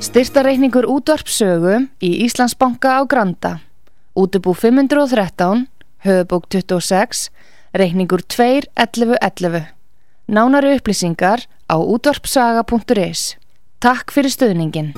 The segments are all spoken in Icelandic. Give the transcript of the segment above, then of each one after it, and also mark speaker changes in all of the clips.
Speaker 1: Styrtareikningur útvarpsögu í Íslandsbanka á Granda. Útubú 513, höfubók 26, reikningur 2.11.11. Nánari upplýsingar á útvarpsaga.is. Takk fyrir stöðningin.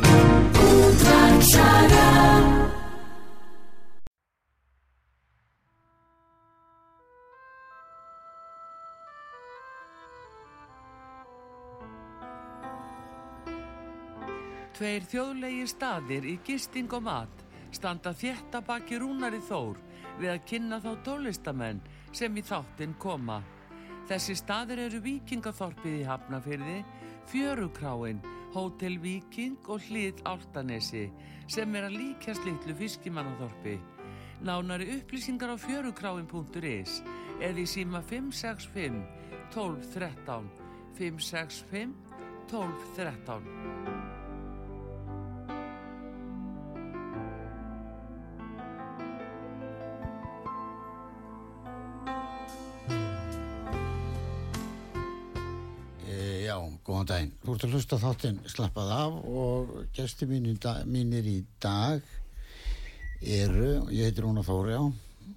Speaker 2: Tveir þjóðlegir staðir í gisting og mat standa þétt að baki rúnari þór við að kynna þá tólistamenn sem í þáttinn koma. Þessi staðir eru Víkingathorpið í Hafnafyrði, Fjörukráin, Hótel Víking og Hlið Áltanesi sem er að líkjast litlu fiskimannathorpi. Nánari upplýsingar á fjörukráin.is eða í síma 565 1213 565 1213
Speaker 3: E, já, góðan daginn. Þú ert að hlusta á þáttinn slappað af og gesti mínir, da, mínir í dag eru, ég heitir Rúna Þóri á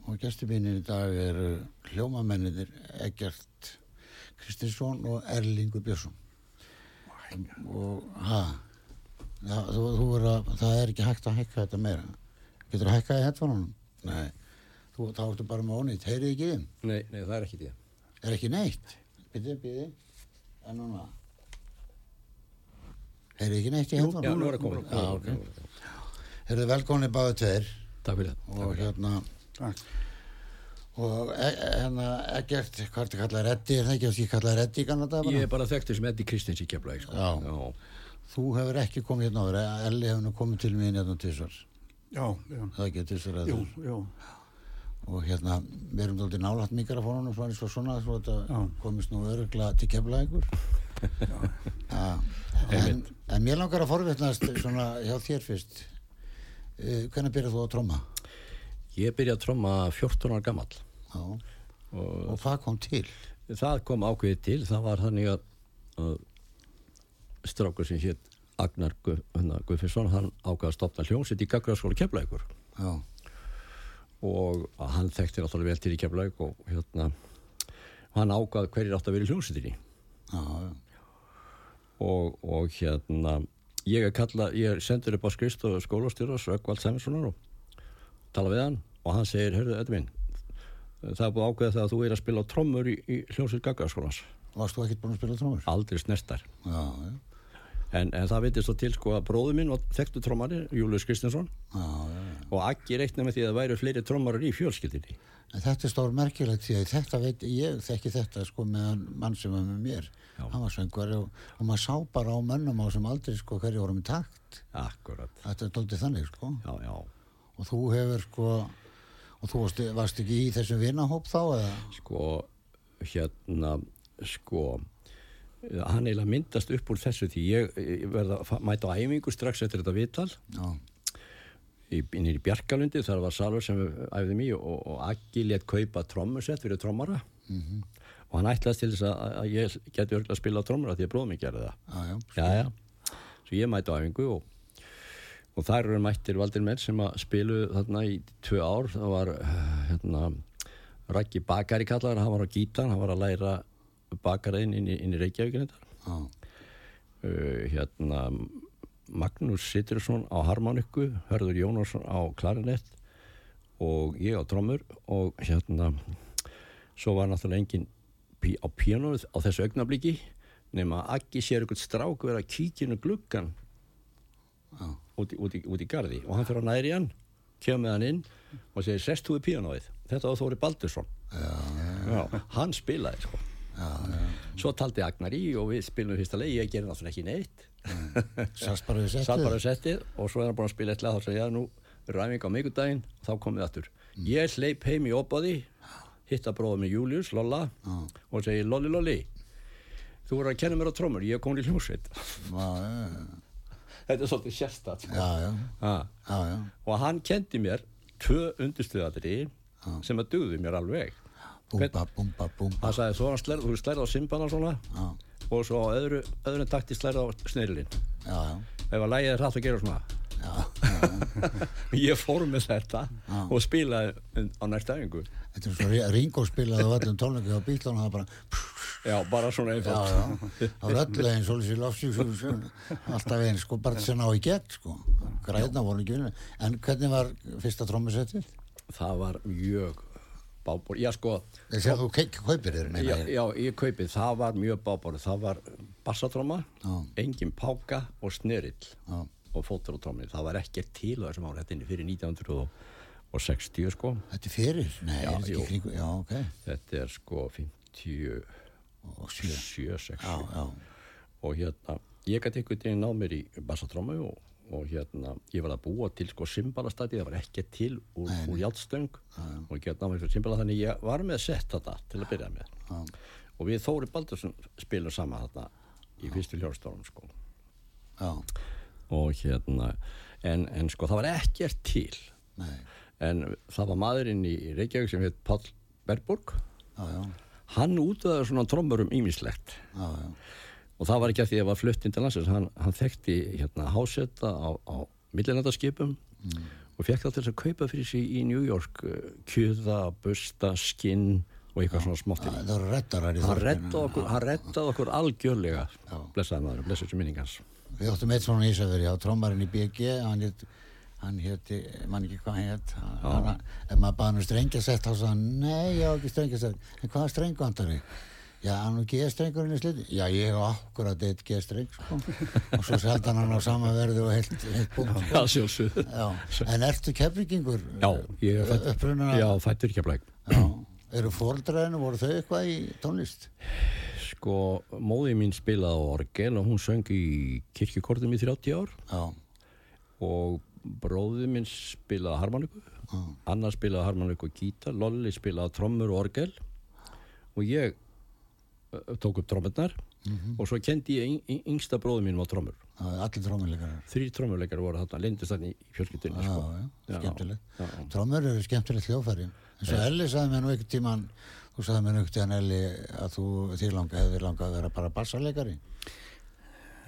Speaker 3: og gesti mínir í dag eru hljómamenninir Egert Kristinsson og Erlingur Björnsson. Og, ha, það, þú, þú er að, það er ekki hægt að hækka þetta meira. Getur að hækka í hættfónunum? Nei, þú, þá ertu bara með ónýtt, heyrið ekki þið?
Speaker 4: Nei, nei, það er ekki því.
Speaker 3: Er ekki neitt? Býtið, býtið. En núna? Heyrðu ekki neitt í hendunum?
Speaker 4: Já, nú er það komið.
Speaker 3: Já, ok. Heyrðu velkóni báðu tveir
Speaker 4: Takk fyrir það.
Speaker 3: og hérna og e e- hérna ekkert, hvað ertu kallað reddi, er það ekki að því kallað reddi í kannada bara?
Speaker 4: hérna, Ég er bara þekktur sem Eddi Kristins í Keflæk, sko.
Speaker 3: Já. Þú hefur ekki komið hérna áður, eh, Elli hefur nú komið til mín hérna tísvar,
Speaker 5: Já, já,
Speaker 3: það er ekki tísvar að
Speaker 5: jú,
Speaker 3: þú
Speaker 5: jú,
Speaker 3: og hérna, við erum þóttið nálægt mikrofónunum svona eins og svona, svo þetta
Speaker 5: Já.
Speaker 3: komist nú örugla til kemla ykkur en, en mér langar að forvétnast svona hjá þér fyrst uh, hvernig byrjar þú að tróma?
Speaker 4: Ég byrjaði að tromma 14 ára gammal.
Speaker 3: Já.
Speaker 4: Og
Speaker 3: og hvað kom til?
Speaker 4: það kom ákveðið til, það var þannig að, að strákur sem hétt Agnar Gu, hérna, Guðfinnsson, hann ákveði að stopna hljómsveit í Gagraðskóla Keflækur.
Speaker 3: Já,
Speaker 4: Og hann þekkti náttúrulega vel til í Keflæk og hérna, hann ákveði hverjir átt að vera í hljómsveitinni.
Speaker 3: já, já.
Speaker 4: og, og hérna ég er, kalla, ég er sendur upp á skrist og skólastjóra Svöggvald Sæminssonar og tala við hann og hann segir, hörðu, Eddi minn það er búið að ákveða það að þú er að spila á trommur í, í hljómsveit gaggarskólans
Speaker 3: varst þú ekkert búin að spila trómur?
Speaker 4: aldrei snertar
Speaker 3: Já, já,
Speaker 4: en, en það vitist þá til sko að bróðu minn og þekktu trommari, Július Kristinsson
Speaker 3: já, já, já.
Speaker 4: og Aggi reikna með því að það væru fleiri trommarar í fjölskyldinni
Speaker 3: En þetta er stór merkilegt því að þetta veit, ég þekki þetta sko meðan mann sem var með mér
Speaker 4: Já.
Speaker 3: hann var söngvar og, og maður sá bara á mönnum á sem aldrei sko hverju vorum í takt
Speaker 4: akkurat,
Speaker 3: þetta er doldið þannig sko
Speaker 4: já, já
Speaker 3: og þú hefur sko og þú varst, varst ekki í þessum vinahóp þá eða?
Speaker 4: sko, hérna sko eh, hann eiginlega myndast upp úr þessu því ég, ég verða að fa- mæta á æfingu strax eftir þetta viðtal
Speaker 3: Já,
Speaker 4: í- inn í Bjarkalundi, þar var salur sem við æfðum í og, og Aggi létt kaupa trommusett fyrir trommara og hann ætlaðist til þess að, að- að ég geti örgulega að spila á trommara því að bróðum ég gerði það
Speaker 3: já, já,
Speaker 4: já, já, svo ég mæti á æfingu og, og þar eru mættir Valdir Menn sem að spilu þarna í tvö ár, það var eh, hérna, Raggi Bakari kallar hann var á gítan, hann var að læra bakariðin inn, í- inn í Reykjavíkinn þetta
Speaker 3: já,
Speaker 4: uh, hérna Magnús Sittursson á harmoniku Hörður Jónarsson á klarinett og ég á trommur og hérna svo var náttúrulega engin pí á píanóið á þessu augnabliki nema að Aggi sér einhvern strák vera að kíkinu gluggan
Speaker 3: Já.
Speaker 4: út, í- út, í, út í garði og hann fyrir að næri hann kemur með hann inn og segir sest þú í píanóið þetta var Þóri Baldursson já, hann spilaði sko svo taldi Agnar í og við spilum fyrsta leið, ég gerði náttúrulega ekki neitt
Speaker 3: sast bara við
Speaker 4: satt
Speaker 3: settið
Speaker 4: bara á settið og svo er hann búin að spila eitthvað þá segja ég nú ræming á miðgudaginn þá komið aftur
Speaker 3: Mm.
Speaker 4: ég hleyp heim í opadi hitta bróðum með Július, Lolla og segi Lolli Lolli þú voru að kenna mér á trommur, ég er komin í hljómsveit
Speaker 3: já, já,
Speaker 4: þetta er svolítið sérstætt
Speaker 3: já, já,
Speaker 4: ah.
Speaker 3: já, já.
Speaker 4: og hann kendi mér tvö undirstöðatri sem að dugðu mér alveg
Speaker 3: búmba, búmba, búmba
Speaker 4: hann sagði svo hann slærð, þú slærð á simbana svona
Speaker 3: já,
Speaker 4: og svo á öðru, öðru takti slærð á snirlin
Speaker 3: já, já,
Speaker 4: ef að lægið er hratt að gera svona
Speaker 3: já, já.
Speaker 4: ég fór með þetta og spilaði um- á næsta æfingu
Speaker 3: þetta er svo Ringo spilaði á öllum tónleikum og bílónu það bara
Speaker 4: já, bara svona
Speaker 3: já,
Speaker 4: einfalt
Speaker 3: já, það var öll eins og þessi lofsjúsjúsjún alltaf eins sko, bara sem ná í gegn sko, græðna voru ekki vinna en hvernig var fyrsta trómmusettið?
Speaker 4: það var mjög bábor já sko,
Speaker 3: Þessi að þú ke- kaupir þér meina
Speaker 4: já,
Speaker 3: ég
Speaker 4: já, ég kaupið það var mjög bábor, það var bassatróma
Speaker 3: Já.
Speaker 4: engin páka og snirill
Speaker 3: Já.
Speaker 4: og fótur og trómi það var ekkert til á þessum ára, þetta er fyrir 1960 sko
Speaker 3: Þetta er fyrir? Nei,
Speaker 4: Já,
Speaker 3: er þetta
Speaker 4: jú.
Speaker 3: ekki kringu? Já, ok.
Speaker 4: þetta er sko 57,
Speaker 3: Og sjö.
Speaker 4: 60
Speaker 3: Já, já.
Speaker 4: og hérna, ég gæti einhvern veginn náð mér í bassatrómu og, og hérna, ég var að búa til sko simbalastæti, það var ekki til úr, úr jáltstöng og ég gæti náð mér fyrir simbala þannig ég var með að setja þetta til að byrja með og við Þóri Baldursson spilum saman þarna í fyrstu hljóðstofnum sko
Speaker 3: Já,
Speaker 4: og hérna, en, en sko það var ekkert til
Speaker 3: nei.
Speaker 4: en það var maðurinn í Reykjavík sem heit Pall Berburg
Speaker 3: Já, já,
Speaker 4: hann útveðaði svona trommurum ímislegt
Speaker 3: já, já.
Speaker 4: og það var ekki að því að var flutt inn til landsins hann, hann þekkti hérna hásetta á, á millilandaskipum
Speaker 3: Mm.
Speaker 4: og fekk það til þess að kaupa fyrir sig í New York eh, kjöða, busta, skinn og eitthvað svona smátt
Speaker 3: Það það eru rettarar í
Speaker 4: hann
Speaker 3: þorpinu.
Speaker 4: rettaði okkur, hann reddaði okkur algjörlega
Speaker 3: Já.
Speaker 4: blessaði maður, blessaði þessu minningans
Speaker 3: Við áttum eitt svona ísafyrir, já, trommarinn í BG, hann hétt, hann hétt, mann ekki hvað hann hétt, hann, ef maður baði hann um strengjasett, þá sagði hann, nei, ég á ekki strengjasett, en hvaða streng vantar þig? Já, hann og G-strengurinn er slitið. Já, ég á akkurat eitt G-streng, sko. og svo seldi hann hann á sama verði og heilt, heilt búnt.
Speaker 4: já, sjálfsögðu
Speaker 3: Já, en ertu keflingingur?
Speaker 4: já, ég er fætt,
Speaker 3: Upprunnar?
Speaker 4: já, fættur ekki að blæk
Speaker 3: Já, eru fóreldræðinu, voru þau eitthvað í tónlist?
Speaker 4: sko, móði mín spilaði á orgel og hún söng í kirkjukortum í 30 ár
Speaker 3: Já,
Speaker 4: og bróðið minn spilaði harmoniku annar spilaði harmoniku og gítar Lolli spilaði trommur og orgel og ég uh, tók upp trommurnar
Speaker 3: Mhm.
Speaker 4: og svo kendi ég yng- yng- yngsta bróðið minn á trommur
Speaker 3: það er allir trómuleikarar.
Speaker 4: þrýr trommurleikar voru þarna, lindist þarna í fjölskyldunni
Speaker 3: Já,
Speaker 4: sko.
Speaker 3: já, skemmtilegt.
Speaker 4: já.
Speaker 3: Trómur eru skemmtilegt hljófæri. En svo Elli sagði mér nú einhvern tíman, þú sagði mér nú einhvern tíman Elli að þú, þér langa, hefði langa að vera bara bassarleikari.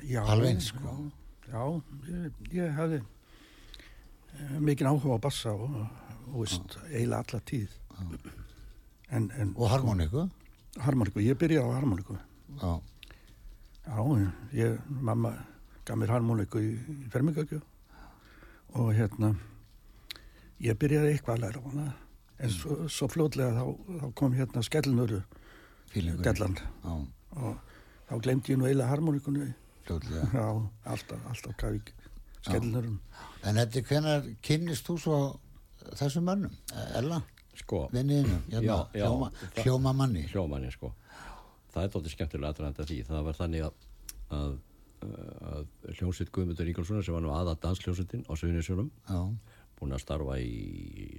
Speaker 5: Já,
Speaker 3: Alveg eins, sko.
Speaker 5: Já, já ég, ég hafði eh, mikinn áhuga á bassa og, og veist, eiginlega alla tíð. En, en
Speaker 3: Og harmoniku.
Speaker 5: harmoniku, ég byrjaði á harmoniku.
Speaker 3: Já,
Speaker 5: Já, ég, mamma gaf mér harmoniku í, í fermingagjöf og hérna, ég byrjaði eitthvað að læra á hana. En svo,
Speaker 3: Mm.
Speaker 5: svo fljótlega þá, þá kom hérna skellnöru,
Speaker 3: fílingur.
Speaker 5: dellan,
Speaker 3: Já,
Speaker 5: og þá glemdi ég nú eiginlega harmonikunni.
Speaker 3: fljóðlega.
Speaker 5: Já, alltaf, alltaf gaf ég skellnörum.
Speaker 3: En þetta, hvenar kynnist þú svo þessum mönnum? Ella,
Speaker 4: sko,
Speaker 3: vinniðinu, hérna,
Speaker 4: Já, já.
Speaker 3: hljóma, hljóma manni.
Speaker 4: hljómanni sko. það er þóttið skemmtilega aðræðan því það var þannig að, að, að hljómsveit Guðmundur Ingolfssonar sem var nú aða danshljómsveitin á Suðunisjónum
Speaker 3: Já,
Speaker 4: búin að starfa í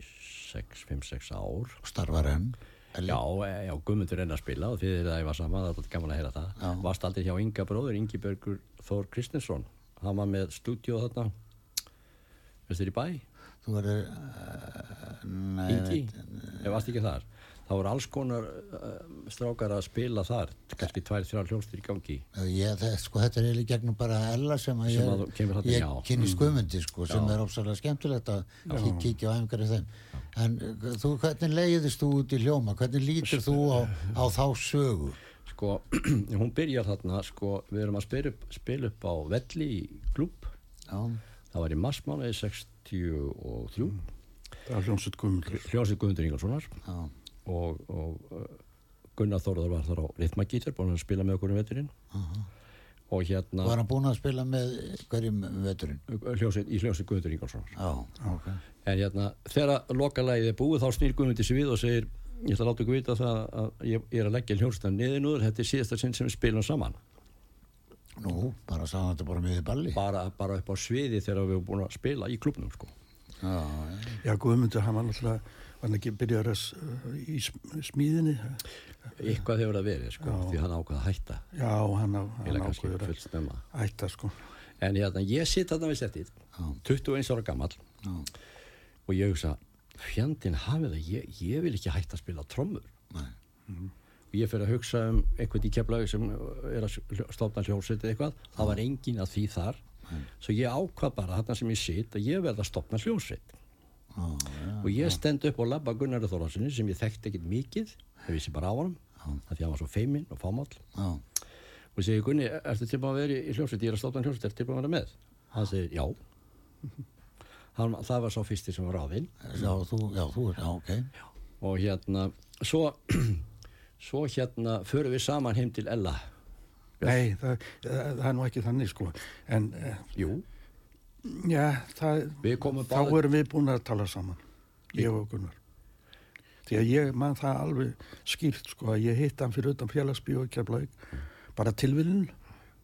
Speaker 4: 5-6 ár
Speaker 3: starfar enn. Elli.
Speaker 4: Já, e- já, Guðmundur enn að spila og þið er það ég var saman, það er alltaf gaman að heyra það
Speaker 3: Já.
Speaker 4: Varst aldrei hjá Inga bróður, Ingi Börgur Þór Kristinsson Hann var með stúdíó þarna Vestur í bæ,
Speaker 3: Þú verður... Uh, nei,
Speaker 4: Ingi Ég varst ekki þar Það voru alls konar uh, strákar að spila þar Kanski tvær, þrjár hljómstur í gangi
Speaker 3: Ég, það, sko, þetta er eiginlega í gegnum bara Ella sem að
Speaker 4: Sem að þú
Speaker 3: ég,
Speaker 4: kemur þarna,
Speaker 3: ég
Speaker 4: já. Mm.
Speaker 3: kynist Guðmundi sko, sem er ofsalega skemmtilegt að kí- kíkja á æfingar í þeim en uh, þú, hvernig leiðist þú út í hljóma hvernig lítur þú á, á þá sögu
Speaker 4: Sko, hún byrjar þarna sko, Við erum að spila upp, spila upp á Velli í klúb
Speaker 3: já,
Speaker 4: Það var í marsmánaði 63
Speaker 5: Það er hljómsveit guðmundur.
Speaker 4: Hljómsveit Guðmundur Ingolfssonar
Speaker 3: já,
Speaker 4: og, og uh, Gunnar Þórðar var þar á ritmagítar búin að spila með okkur um veturinn og hérna
Speaker 3: var hann búinn að spila með hverjum veturinn
Speaker 4: hljósi, í hljósi Guðmundur Ingolfsson
Speaker 3: já, ok
Speaker 4: en hérna þegar lokalagið er búið þá snýr Guðmundur sér við og segir ég ætla að láta ykkur vita það að ég, ég er að leggja hljóstan niðinúður, þetta er síðasta sinn sem við spilum saman
Speaker 3: nú, bara sagði hann þetta bara með í balli já,
Speaker 4: bara, bara upp á sviði þegar við erum búin að spila í klubnum sko.
Speaker 3: já,
Speaker 5: Já, Guðmundur, hann var náttúrulega, var hann ekki byrjaður að s- í sm- smíðinni?
Speaker 4: eitthvað hefur að verið sko, því hann ákvað að hætta
Speaker 5: Já, hann, á- hann
Speaker 4: Eiginlega kannski
Speaker 5: ákveður að
Speaker 4: fullstemma
Speaker 5: ætta, sko.
Speaker 4: En hérna, ég sitt þarna við settið, 21 ára gammal og ég hugsa, fjandinn hafið það, ég, ég vil ekki hætta að spila trommur.
Speaker 3: Nei.
Speaker 4: og ég fyrir að hugsa um einhvern í keflaug sem er að stofna hljómsveit eða eitthvað, það var engin að því þar svo ég ákvað bara þarna sem ég sitt að ég verð að stofna hljómsveit
Speaker 3: Ó, já.
Speaker 4: og ég stend upp og labba Gunnari Þorvarsinni sem ég þekkti ekkert mikið það vissi bara á hann, af því að hann var svo feiminn og fámáll
Speaker 3: Já.
Speaker 4: og ég segi Gunni, ertu tilbúin að vera í hljómsveit ég er að stofna hljómsveit, ertu tilbúin að vera með hann segir, já hann, það var sá fyrsti sem var ráðinn
Speaker 3: Já, þú, já, þú er, já, ok.
Speaker 4: og hérna svo, svo hérna förum við saman heim til Ella
Speaker 5: Nei, það, það, það er nú ekki þannig sko en eh,
Speaker 4: jú,
Speaker 5: já, það,
Speaker 4: Við komum
Speaker 5: þá
Speaker 4: báðir-
Speaker 5: erum við búin að tala saman ég og Gunnar því að ég man það alveg skýrt sko að ég hitt hann fyrir utan félagsbíu og keflaug bara tilvíðin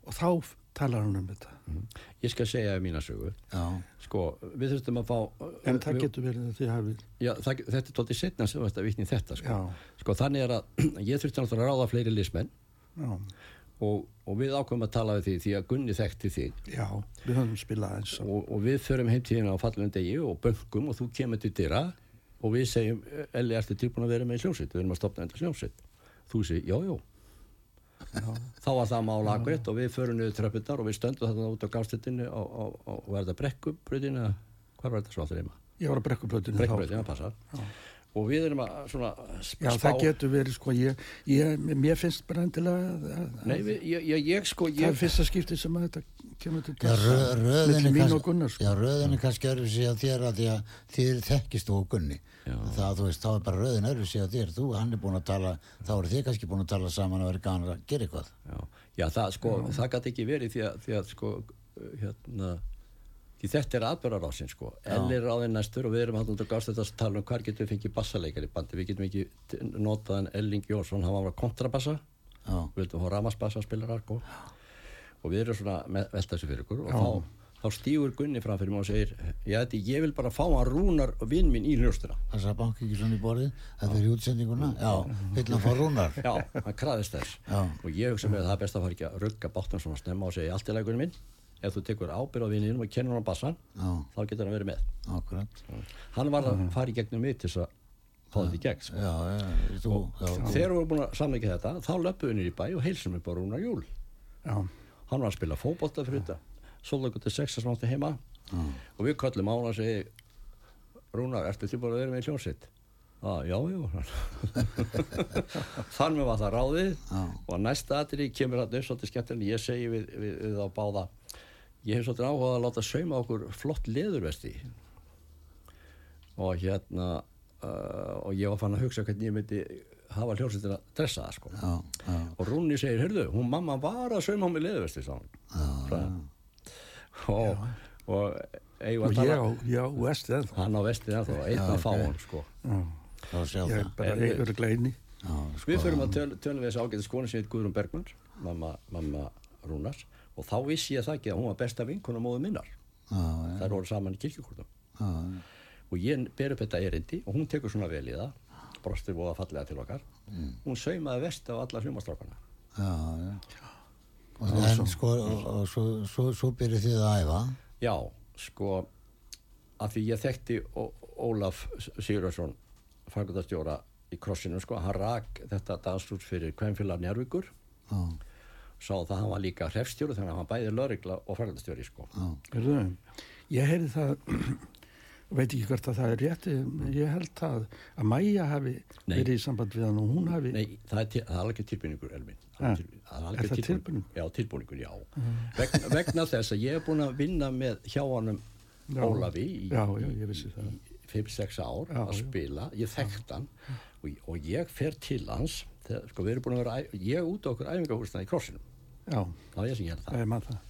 Speaker 5: og þá f- talar hann um þetta
Speaker 4: ég skal segja um mína sögu
Speaker 3: Já,
Speaker 4: sko, við þurftum að fá
Speaker 5: en það
Speaker 4: við,
Speaker 5: getur verið að þið hafið
Speaker 4: já, það, þetta er tóttið setna sem þú veist að vitni í þetta sko.
Speaker 5: Já.
Speaker 4: sko, þannig er að ég þurfti náttúrulega að ráða fleiri lismenn
Speaker 5: já,
Speaker 4: og, og við ákveðum að tala við því því að Gunni þekkti þig
Speaker 5: já, við höfum spilað eins og
Speaker 4: og, og við förum heim til hérna á fallinu degi og böngum og þú kemur til dyra og við segjum, Elli, ertu tilbúin að vera með í hljómsveit við erum að stopna enda hljómsveit þú segir, já, já þá var það mála akkurat og við förum niður tröppundar og við stöndum þarna út á gafstættinu og, og, og, og var þetta brekkubröðina hvað var þetta svo alltaf reyma?
Speaker 5: ég var að brekkubröðinu þá
Speaker 4: Brekkubröðina, passar og við erum að svona sp-
Speaker 5: já, það getur verið sko ég, ég, mér finnst bara endilega að- að-
Speaker 4: Nei, við, ég, ég, ég sko
Speaker 5: það er
Speaker 4: ég,
Speaker 5: fyrsta skipti sem að þetta kemur til
Speaker 3: já rö, röðin
Speaker 5: Milli
Speaker 3: er
Speaker 5: mín og
Speaker 3: kannski,
Speaker 5: Gunnars. sko.
Speaker 3: já, röðin er kannski öðru sig á þér að því að þér þekkist þú og Gunni.
Speaker 4: Já.
Speaker 3: Það, þú veist, þá er bara röðin öðru sig á þér. Þú, hann er búin að tala, þá eru þið kannski búin að tala saman að vera gana að gera eitthvað.
Speaker 4: já, já, það sko það gæti ekki verið því að, því að sko hérna því þetta er aðbörðarásin sko Elli er ráðinn næstur og við erum hann út að gafst þetta að tala um hvar getum við fengið bassaleikar í bandi við getum ekki t- notað en Elling Jónsson hann var að kontrabassa
Speaker 3: Já,
Speaker 4: við vildum hóra ramassbassa spilar arko sko. og við erum svona með velta þessu fyrir okkur og þá, þá stígur Gunni fram fyrir mig og segir ég, þetta, ég vil bara fá hann rúnar vinn minn í hljóstina
Speaker 3: það sá banki ekki svona í borðið, þetta er í útsendinguna. Já, vill hann fá rúnar.
Speaker 4: Já, hann kraðist þess
Speaker 3: Já.
Speaker 4: og ég hugsa mér að það er best að fara ekki að rugga bátnum svona snemma og segja allt í lækunum minn ef þú tekur ábyrð á vinninum og kennur hann bassan
Speaker 3: Já,
Speaker 4: þá getur hann verið með
Speaker 3: akkurat.
Speaker 4: hann var að fara í gegnum mig til þess að fá þetta í gegn sko.
Speaker 3: Já, já, þú, já, þú.
Speaker 4: þegar við vorum búin að samleika þetta þá löpum við niður í bæ og heilsum upp á Rúnar Júl
Speaker 5: já,
Speaker 4: hann var að spila fótbolta fyrir þetta svolítið til sexa sem átti heima og við köllum á hann og segi Rúnar, ertu tilbúin að vera með í hljónsitt? Ah, já, já Þar með var það ráðið og að næsta atrið kemur hann upp svolítið skemmtilega ég segi við, við, við þá báða ég hef svolítið áhugað að láta sauma okkur flott leðurvesti og hérna uh, og ég var fann að hugsa hvernig ég myndi hafa hljónsittin að dressa það sko
Speaker 3: Já, já,
Speaker 4: og Rúni segir, heyrðu, hún mamma var að sauma á mig leðurvesti sá hann og, og, og
Speaker 5: og ég á, ég á vestið ennþá.
Speaker 4: hann á vestið ennþá, einn að fá hann sko.
Speaker 3: þá sjá
Speaker 5: ég
Speaker 3: það.
Speaker 5: er bara öruglega eini
Speaker 3: Já, sko,
Speaker 4: við förum að töl, tölum við þessi ágæti skonu sem heit Guðrún Bergmann mamma, mamma Rúnars og þá vissi ég það ekki að hún var besta vinkona móðu minnar
Speaker 3: já, já,
Speaker 4: þær voru saman í kirkjukortum
Speaker 3: já,
Speaker 4: og ég ber upp þetta erindi og hún tekur svona vel í það brostir voða fallega til okkar
Speaker 3: Mm.
Speaker 4: hún saumaði vest á alla hljómastrákana
Speaker 3: já, já. Og en sko, og, og svo, svo, svo byrjuð þið að æfa.
Speaker 4: já, sko að því ég þekkti Ó- Ólaf Sigurðarsson fangundastjóra í krossinum sko, hann rak þetta dansrús fyrir kvenfélag Njárvíkur
Speaker 3: Já,
Speaker 4: sá það að hann var líka hrefstjóri þannig að hann var bæði lögregla og frækaldastjóri sko.
Speaker 5: Hörðu, ég heyrði það veit ekki hvort að það er rétt ég held að að Maja hafi
Speaker 4: Nei.
Speaker 5: verið í samband við hann og hún hafi
Speaker 4: Nei, það er, til, það er alveg tilbúningur, Elmin.
Speaker 5: Ha,
Speaker 4: Er
Speaker 5: er það tilbúningur? Mhm.
Speaker 4: Já, tilbúningur, já. Vegna, vegna þess að ég er búin að vinna með hjá hannum Ólafi í
Speaker 5: já, já, ég vissi það
Speaker 4: 5-6 ár
Speaker 5: Já,
Speaker 4: að
Speaker 5: já.
Speaker 4: spila, ég þekkt hann og, og ég fer til hans, þegar, sko við erum búin að vera, æ- ég er út á okkur æfingahúsna í krossinum,
Speaker 5: já,
Speaker 4: það var ég sem gerði það.
Speaker 5: það er maður það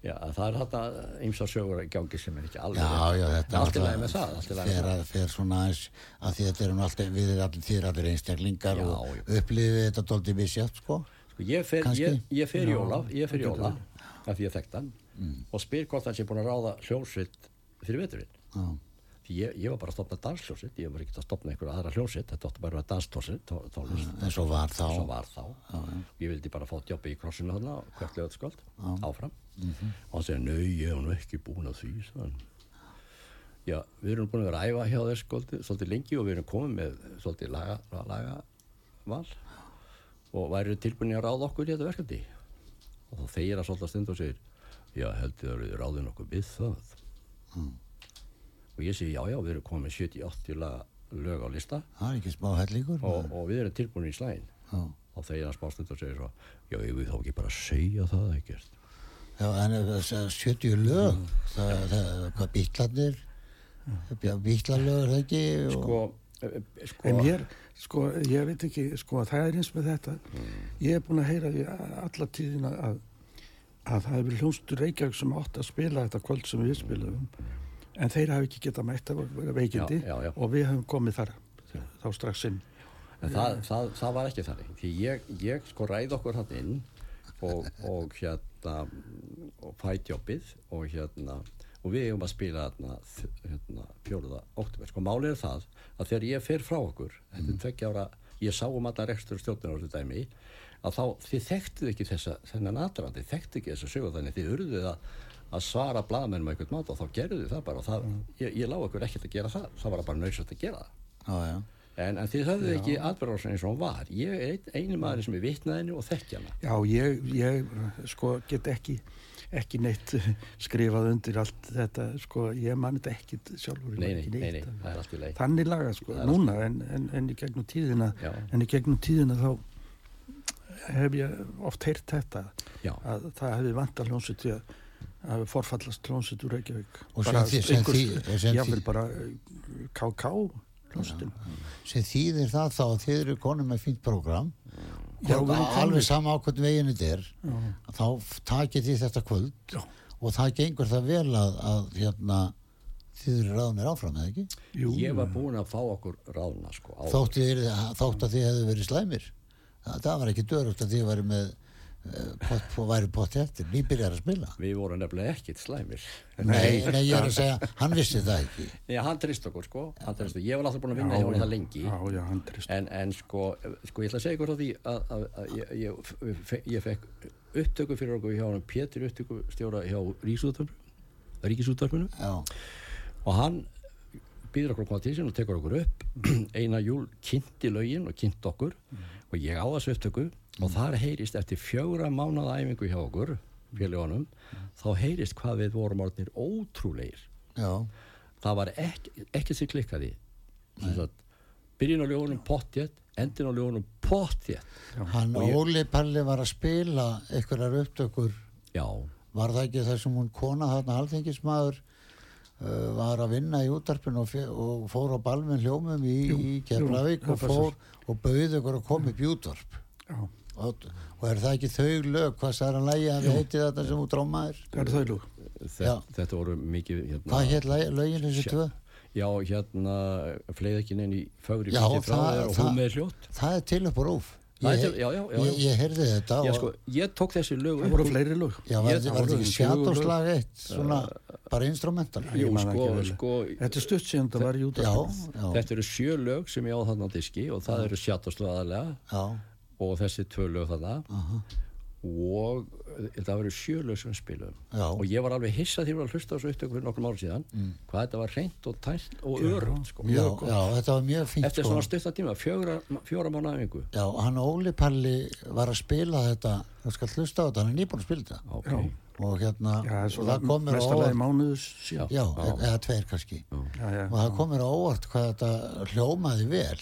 Speaker 4: Já, það er þetta eins og sögur í gangi sem er ekki alveg.
Speaker 3: já, já, þetta
Speaker 4: Allt í lagi með það, allt í lagi með
Speaker 3: fer, að, fer svona aðeins að því þetta er hún alltaf, við erum allir, þið er allir einstaklingar
Speaker 4: Já,
Speaker 3: og
Speaker 4: já.
Speaker 3: upplifið þetta dóldi misjátt, sko.
Speaker 4: Sko, ég fer,
Speaker 3: Kannski.
Speaker 4: ég, ég fer í Ólaf, ég fer í Ólaf, af því ég þekkt hann, og spyr hvort hann sé búin að ráða hljómsveit fyrir veturinn.
Speaker 3: Já,
Speaker 4: Því ég, ég var bara að stopna dansljómsveit, ég var ekki að stopna einhverja aðra hljómsveit, þetta átti bara að vera danstólsveit, tó- tónlist,
Speaker 3: en svo var þá.
Speaker 4: svo var þá. Ég vildi bara fá djópi í krossinu þarna, hvert lögðskvöld, áfram. Og hann segir, nau, ég hef nú ekki búin að því, sann. Já, við erum búin að vera að æfa hjá þér skolti, svolítið lengi og við erum komið með svolítið laga, laga val og væru tilbúinni að ráða okkur í þetta verkefni og þá þegir að svolítið stund og segir já heldur þið eru ráðin okkur við það og ég segi já já við erum komið 70-80 lag- lög á lista
Speaker 3: það er ekki smá hellingur
Speaker 4: og, og við erum tilbúinni í slægin
Speaker 3: Já.
Speaker 4: og þegir að smástund og segir svo já ég vil þá ekki bara segja það ekkert
Speaker 3: Já, en eh, ef það segja 70 lög,
Speaker 4: Mm.
Speaker 3: það það- það er hvað bítlarnir, bítlarlög er það ekki og
Speaker 4: sko, eh, sko
Speaker 5: En mér, sko, ég veit ekki, sko, það er eins með þetta. Ég er búin að heyra því a- alla tíðina að, að það hefur hljónstur Reykjavík sem átt að spila þetta kvöld sem við spilaðum. En þeir hafi ekki getað mætt að vera veikindi
Speaker 4: Já, já, já.
Speaker 5: og við hefum komið þar, þá strax inn.
Speaker 4: En það, það, það var ekki þannig. Því ég, ég sko ræði okkur hann inn og, og hérna og fæt jobbið og hérna og við eigum að spila hérna, þ- hérna fjóruða oktober. Sko málið er það að þegar ég fer frá okkur, þetta er tveggja ára, ég sá um alla rekstur og stjórnir og þetta dæmi, að þá þið þekktuð ekki þessa, þennan aðdrandi, þekktuð ekki þessa sögu þannig, þið urðuð að, að svara blaðmennum á einhvern máta og þá gerðu þið það bara og það, ég, ég lá okkur ekkert að gera það, það var bara nöysast að gera það.
Speaker 3: Já, já.
Speaker 4: En, en þið höfðu ekki atbyrðarásinn eins og hún var. Ég er einn- eini maður sem er vitnaðinu og þekkja hana.
Speaker 5: Já, ég, ég, sko, get ekki, ekki neitt skrifað undir allt þetta, sko, ég man þetta ekki sjálfur. ég man
Speaker 4: Nei, nei,
Speaker 5: ekki
Speaker 4: nei,
Speaker 5: neitt.
Speaker 4: nei, það er allt í leið.
Speaker 5: þannig laga sko,
Speaker 4: Það er
Speaker 5: núna en, en, en í gegnum tíðina
Speaker 4: Já.
Speaker 5: en í gegnum tíðina þá hef ég oft heyrt þetta
Speaker 4: Já,
Speaker 5: að það hefði vant að hljónsut því að að hafi forfallast hljónsut úr Reykjavík
Speaker 3: Og sem þið- sem þið- og sem
Speaker 5: ég vil
Speaker 3: þið-
Speaker 5: bara eh, KK hljónsutin
Speaker 3: sem þýðir það þá að þið eru konum með fínt prógram
Speaker 5: Já,
Speaker 3: og
Speaker 5: við erum konur.
Speaker 3: alveg sama á hvern veginn þetta er þá f- takið þið þetta kvöld
Speaker 5: Já.
Speaker 3: og það gengur það vel að, að hérna, þið eru ráðnir áfram eða ekki
Speaker 4: ég var búinn að fá okkur ráðna, sko. áður.
Speaker 3: þótt, þið eru, þótt að þið hefðu verið slæmir það, það var ekki dörft að þið væri með eh, pott, væri pott eftir, nýbyrjar að spila
Speaker 4: Við vorum nefnilega ekkit slæmir.
Speaker 3: nei, nei, ég er að segja, hann vissi það ekki
Speaker 4: Nei, hann trist okkur, sko. Hann trist okkur. Ég var alltaf búinn að vinna hjá hann það lengi.
Speaker 5: já, já, hann trist
Speaker 4: En, en sko, sko, ég ætla að segja ykkur á því að, að, að ég, ég, fe- ég fekk upptöku fyrir okkur hjá hann, Pétur upptöku stjóra hjá Ríkisútvarpinu, Ríkisútvarpinu.
Speaker 3: já,
Speaker 4: og hann býður okkur að koma til sín og tekur okkur upp eina júl kynnti lögin og kynnt okkur og ég á þessu upptöku og þar heyrist eftir fjögra mánada æfingu hjá okkur félagunum þá heyrist hvað við vorum orðnir ótrúleir
Speaker 3: já,
Speaker 4: það var ekki, ekki sem klikkaði Sem sagt, byrjun á ljóðunum pottjett endin á ljóðunum pottjett
Speaker 3: hann
Speaker 4: Og ég-
Speaker 3: Óli Palli var að spila einhverjar upptökur
Speaker 4: já,
Speaker 3: var það ekki þar sem hún kona þarna alþengismæður uh, var að vinna í útarpinu og, fe- og fór á balminn hljómum í, í Keflavík
Speaker 5: jú,
Speaker 3: og
Speaker 5: það
Speaker 3: fór og bauði ykkur að koma upp í útarp
Speaker 5: já,
Speaker 3: og, og er það ekki þau lög hvað særa lægi að við heiti þetta sem hún drámaður
Speaker 5: það er þau lúg
Speaker 4: þetta, þetta voru mikið hérna,
Speaker 3: hvað hétt lögin þessu tvö
Speaker 4: já, hérna, fleið ekki neinn í fögri
Speaker 3: Já,
Speaker 4: fyrti frá
Speaker 3: það-
Speaker 4: þér og
Speaker 3: það-
Speaker 4: hún með hljótt
Speaker 3: það er til upp á rúf
Speaker 4: Það er
Speaker 3: ég,
Speaker 4: til- já, já, já, já.
Speaker 3: ég, ég heyrði þetta
Speaker 4: Já,
Speaker 3: og,
Speaker 4: sko, ég tók þessi lög
Speaker 5: það
Speaker 4: upp
Speaker 5: voru
Speaker 4: úr-
Speaker 5: fleiri lúg
Speaker 3: já, var,
Speaker 4: ég-
Speaker 3: var
Speaker 4: það
Speaker 3: þetta
Speaker 5: voru
Speaker 3: ekki
Speaker 5: fjögur lög.
Speaker 3: sjáttóslag eitt svona, bara instrumental
Speaker 4: Uh, Jú,
Speaker 5: Ég man það
Speaker 4: sko,
Speaker 5: ekki vel.
Speaker 4: sko,
Speaker 5: þetta er stutt síðan það var í út
Speaker 3: já, já,
Speaker 4: þetta eru sjö lög sem ég á þarna á diski og það eru Shatterslög aðalega
Speaker 3: já
Speaker 4: og þessi tvö lög þarna og eh, það eru sjö lög sem við spilum
Speaker 3: Já.
Speaker 4: og ég var alveg hissa því að ég var að hlusta á þessu upptöku fyrir nokkrum ára síðan hvað þetta var hreint og tælt og örugt sko.
Speaker 3: Já, já, sko. þetta var mjög fínt
Speaker 4: eftir svona stutta tíma, fjögra, fjóra mánu aðingu
Speaker 3: Já, hann Óli Palli var að spila þetta, þú skal hlusta á þetta, hann er nýbúin að spila þetta
Speaker 4: okay.
Speaker 3: og hérna,
Speaker 5: já,
Speaker 3: og það kom mér á
Speaker 5: mestalagi
Speaker 3: óvart,
Speaker 5: mánuðu síðan
Speaker 3: já, eða tveir kannski,
Speaker 5: já, já.
Speaker 3: og það kom mér á óvart hvað þetta hljómaði vel.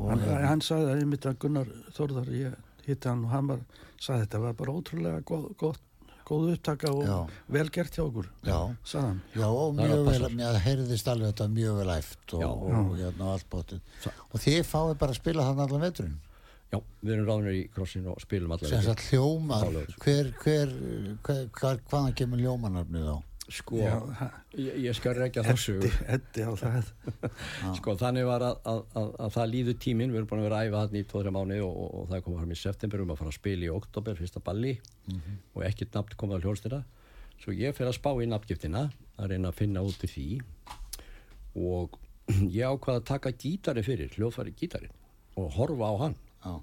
Speaker 3: Og, hérna.
Speaker 5: hann, hann sagði að einmitt að Gunnar Þórðar ég hitti hann og hann var, sagði þetta var bara ótrúlega góð, góð, góð upptaka og
Speaker 3: Já.
Speaker 5: vel gert hjá okkur
Speaker 3: já,
Speaker 5: sagði hann
Speaker 3: já, og
Speaker 4: Það er
Speaker 3: mjög
Speaker 4: að
Speaker 3: vel,
Speaker 4: passa.
Speaker 3: mér heyrðist alveg þetta mjög vel æft og,
Speaker 4: Já.
Speaker 3: og hérna og allt bótið. Og þið fáið bara að spila þann allan veturinn,
Speaker 4: já, við erum ráðnir í krossin og spilum allavega
Speaker 3: sem sagt hljómar,
Speaker 4: Þá lögur.
Speaker 3: hver, hver, hver, hver, hvaðan kemur hljómanarfnið á?
Speaker 4: sko,
Speaker 5: Já,
Speaker 4: ég, ég skal rekja þessu
Speaker 5: Eddi, Eddi á það
Speaker 4: Sko þannig var að, að, að, að það líður tíminn, við erum búin að vera að æfa þarna í 2-3 mánu og, og, og það komið fram í september um að fara að spila í oktober, fyrsta balli og ekkert nafn komið á hljóðstina. Svo ég fer að spá í nafngiftina að reyna að finna út úr því og ég ákvaða að taka gítarin fyrir, hljóðfæri gítarin og horfa á hann
Speaker 3: Já,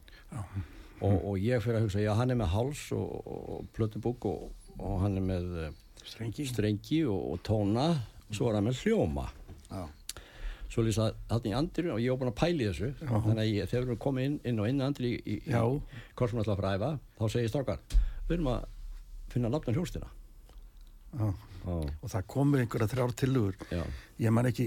Speaker 4: og, og ég fer að hugsa, já hann er með háls og, og, og plötubúk og, og hann er með eh,
Speaker 5: strengi
Speaker 4: strengi og, og tóna, svo er hann með hljóma
Speaker 3: já,
Speaker 4: svo lýst að þarna í andri og ég var búin að pæli þessu þannig að ég, þegar við erum komið inn, inn og inn andri í, í,
Speaker 5: Já.
Speaker 4: í korsum alltaf að æfa þá segir strákar, við erum að finna nafnum hljóstina
Speaker 5: Já. og það komur einhverja þrjár tilugur
Speaker 4: Já.
Speaker 5: ég man ekki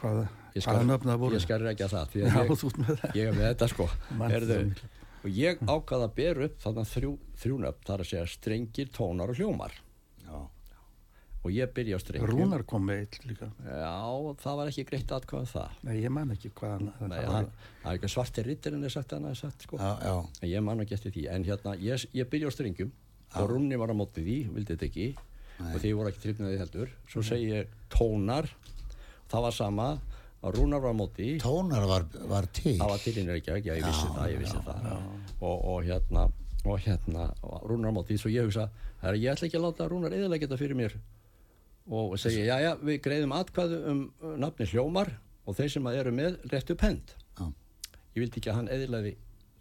Speaker 5: hvað
Speaker 4: ég
Speaker 5: hvaða
Speaker 4: skal,
Speaker 5: nöfn það voru
Speaker 4: ég skal ekki að það því
Speaker 5: Já,
Speaker 4: að
Speaker 5: þú ert með það.
Speaker 4: ég, ég er með þetta sko
Speaker 5: Man
Speaker 4: Heyrðu,
Speaker 5: það miklu.
Speaker 4: og ég ákvað að bera upp þarna þrjú, þrjú nöfn þar að segja strengir, tónar og hljómar
Speaker 3: já,
Speaker 4: og ég byrja á strengjum
Speaker 5: Rúnar kom með eitt líka
Speaker 4: Já, það var ekki greitt aðkvæða það
Speaker 5: nei ég man ekki hvað hann
Speaker 4: Nei,
Speaker 5: það,
Speaker 4: það það er eitthvað svartir rittirinn er sagt annað er sagt sko
Speaker 3: já, já,
Speaker 4: En ég man ekki eftir því, en hérna, ég, ég byrja á strengjum og Rúnni var á móti því, vildi þetta ekki og því voru ekki trifnaði heldur svo segi ég tónar það var sama, að Rúnar var á móti því
Speaker 3: tónar var, var til
Speaker 4: það var tilinn ekki, ekki, ég vissi það, ég vissi það og, og hérna og hérna, og Rúnar á móti því svo ég hugsa, herra, ég ætla ekki að láta Rúnar eðalega þetta fyrir mér og segi, já, já, við greiðum atkvæðu um uh, nafni Hljómar og þeir sem að eru með réttu pend
Speaker 3: Já.
Speaker 4: ég vildi ekki að hann eðlaði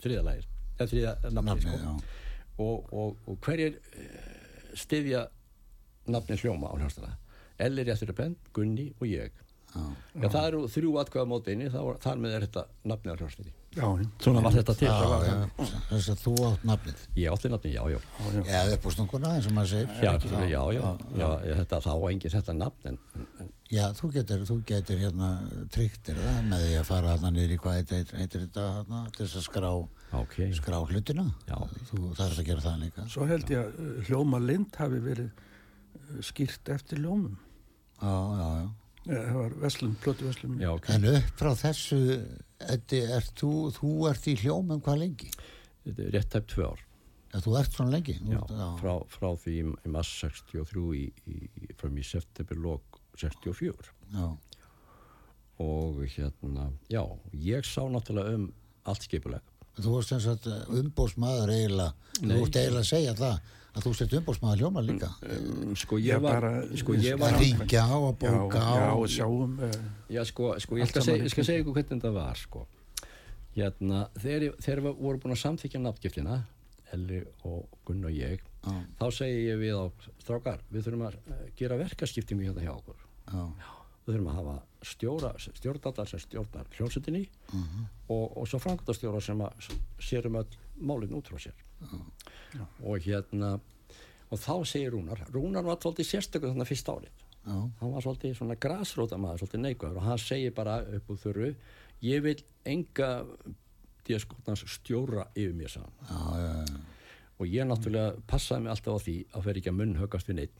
Speaker 4: þriðalagir, eða þriða nafni
Speaker 3: Nafnið,
Speaker 4: sko. og, og, og hverjir eh, styðja nafni hljóma á hljóstana Ellir Réttur Penn, Gunni og ég
Speaker 3: Já.
Speaker 4: Já, það eru þrjú atkvæða mótiðinni, þar með er þetta nafnið á hljóstinni.
Speaker 5: já,
Speaker 4: Svona var þetta til.
Speaker 3: Já,
Speaker 4: Já,
Speaker 3: já, þess að þú átt nafnið
Speaker 4: Ég átti nafnið, já, já.
Speaker 3: eða upp á stunguna eins og maður segir
Speaker 4: Já, já, já, já, já, þetta þá engin þetta nafn en en-
Speaker 3: Já, þú getur, þú getur hérna tryggtir það með því að fara hérna niður í hvað heitir- heitir þetta hérna til þess að skrá,
Speaker 4: ok,
Speaker 3: skrá hlutina.
Speaker 4: Já.
Speaker 3: Þú þarfst að gera það líka.
Speaker 5: svo held ég að uh, hljóma lind hafi verið uh, skýrt eftir hljómum
Speaker 3: Já, já, já.
Speaker 5: Eh, það var Veslum, Plóti Veslum
Speaker 4: já, ok.
Speaker 3: En upp frá þessu, Eddi, ert þú, þú ert í hljómum hvað lengi?
Speaker 4: Þetta er rétt tæpt tvö ár.
Speaker 3: Já, þú ert svona lengi? Þú
Speaker 4: Já,
Speaker 3: ert- já.
Speaker 4: frá, frá því í, í mars 63 í, í, frá mér september lók 64
Speaker 3: já.
Speaker 4: og hérna, já, ég sá náttúrulega um allt skipuleg.
Speaker 3: Þú ert sem sagt umbósmaður eiginlega, þú ert eiginlega að segja það að þú sett umbósmaður hljóma líka.
Speaker 4: Um, sko ég
Speaker 5: Ég
Speaker 4: var,
Speaker 5: bara-
Speaker 4: sko ég var,
Speaker 3: Að ringja á, að
Speaker 5: já,
Speaker 3: bóka á.
Speaker 5: já, og sjáum uh,
Speaker 4: já sko, sko ég
Speaker 5: Allt
Speaker 4: skal, seg,
Speaker 5: saman í
Speaker 4: ég skal segja ykkur hvernig þetta var sko. Hérna, þegar, ég- þegar við vorum búin að samþykja nafngiftina, Elli og Gunn og ég, þá segi ég við á strákar, við þurfum að eh, gera verkaskiptingu hérna hjá okkur.
Speaker 3: Já,
Speaker 4: við þurfum að hafa stjóra, stjórnaldar sem stjórnar hljónsutinni
Speaker 3: Mhm.
Speaker 4: og, og svo framkvæmdastjóra sem að s- sér um öll málinn út frá sér og hérna og þá segir Rúnar, Rúnar var svolítið sérstökur þannig fyrst árið
Speaker 3: já,
Speaker 4: hann var svolítið svona grasróta maður, svolítið neikvæður og hann segir bara upp úr þurru ég vil enga díaskotnans stjóra yfir mér saman
Speaker 3: já, já, já.
Speaker 4: og ég náttúrulega passaði mig alltaf á því að fer ekki að munn högast við neitt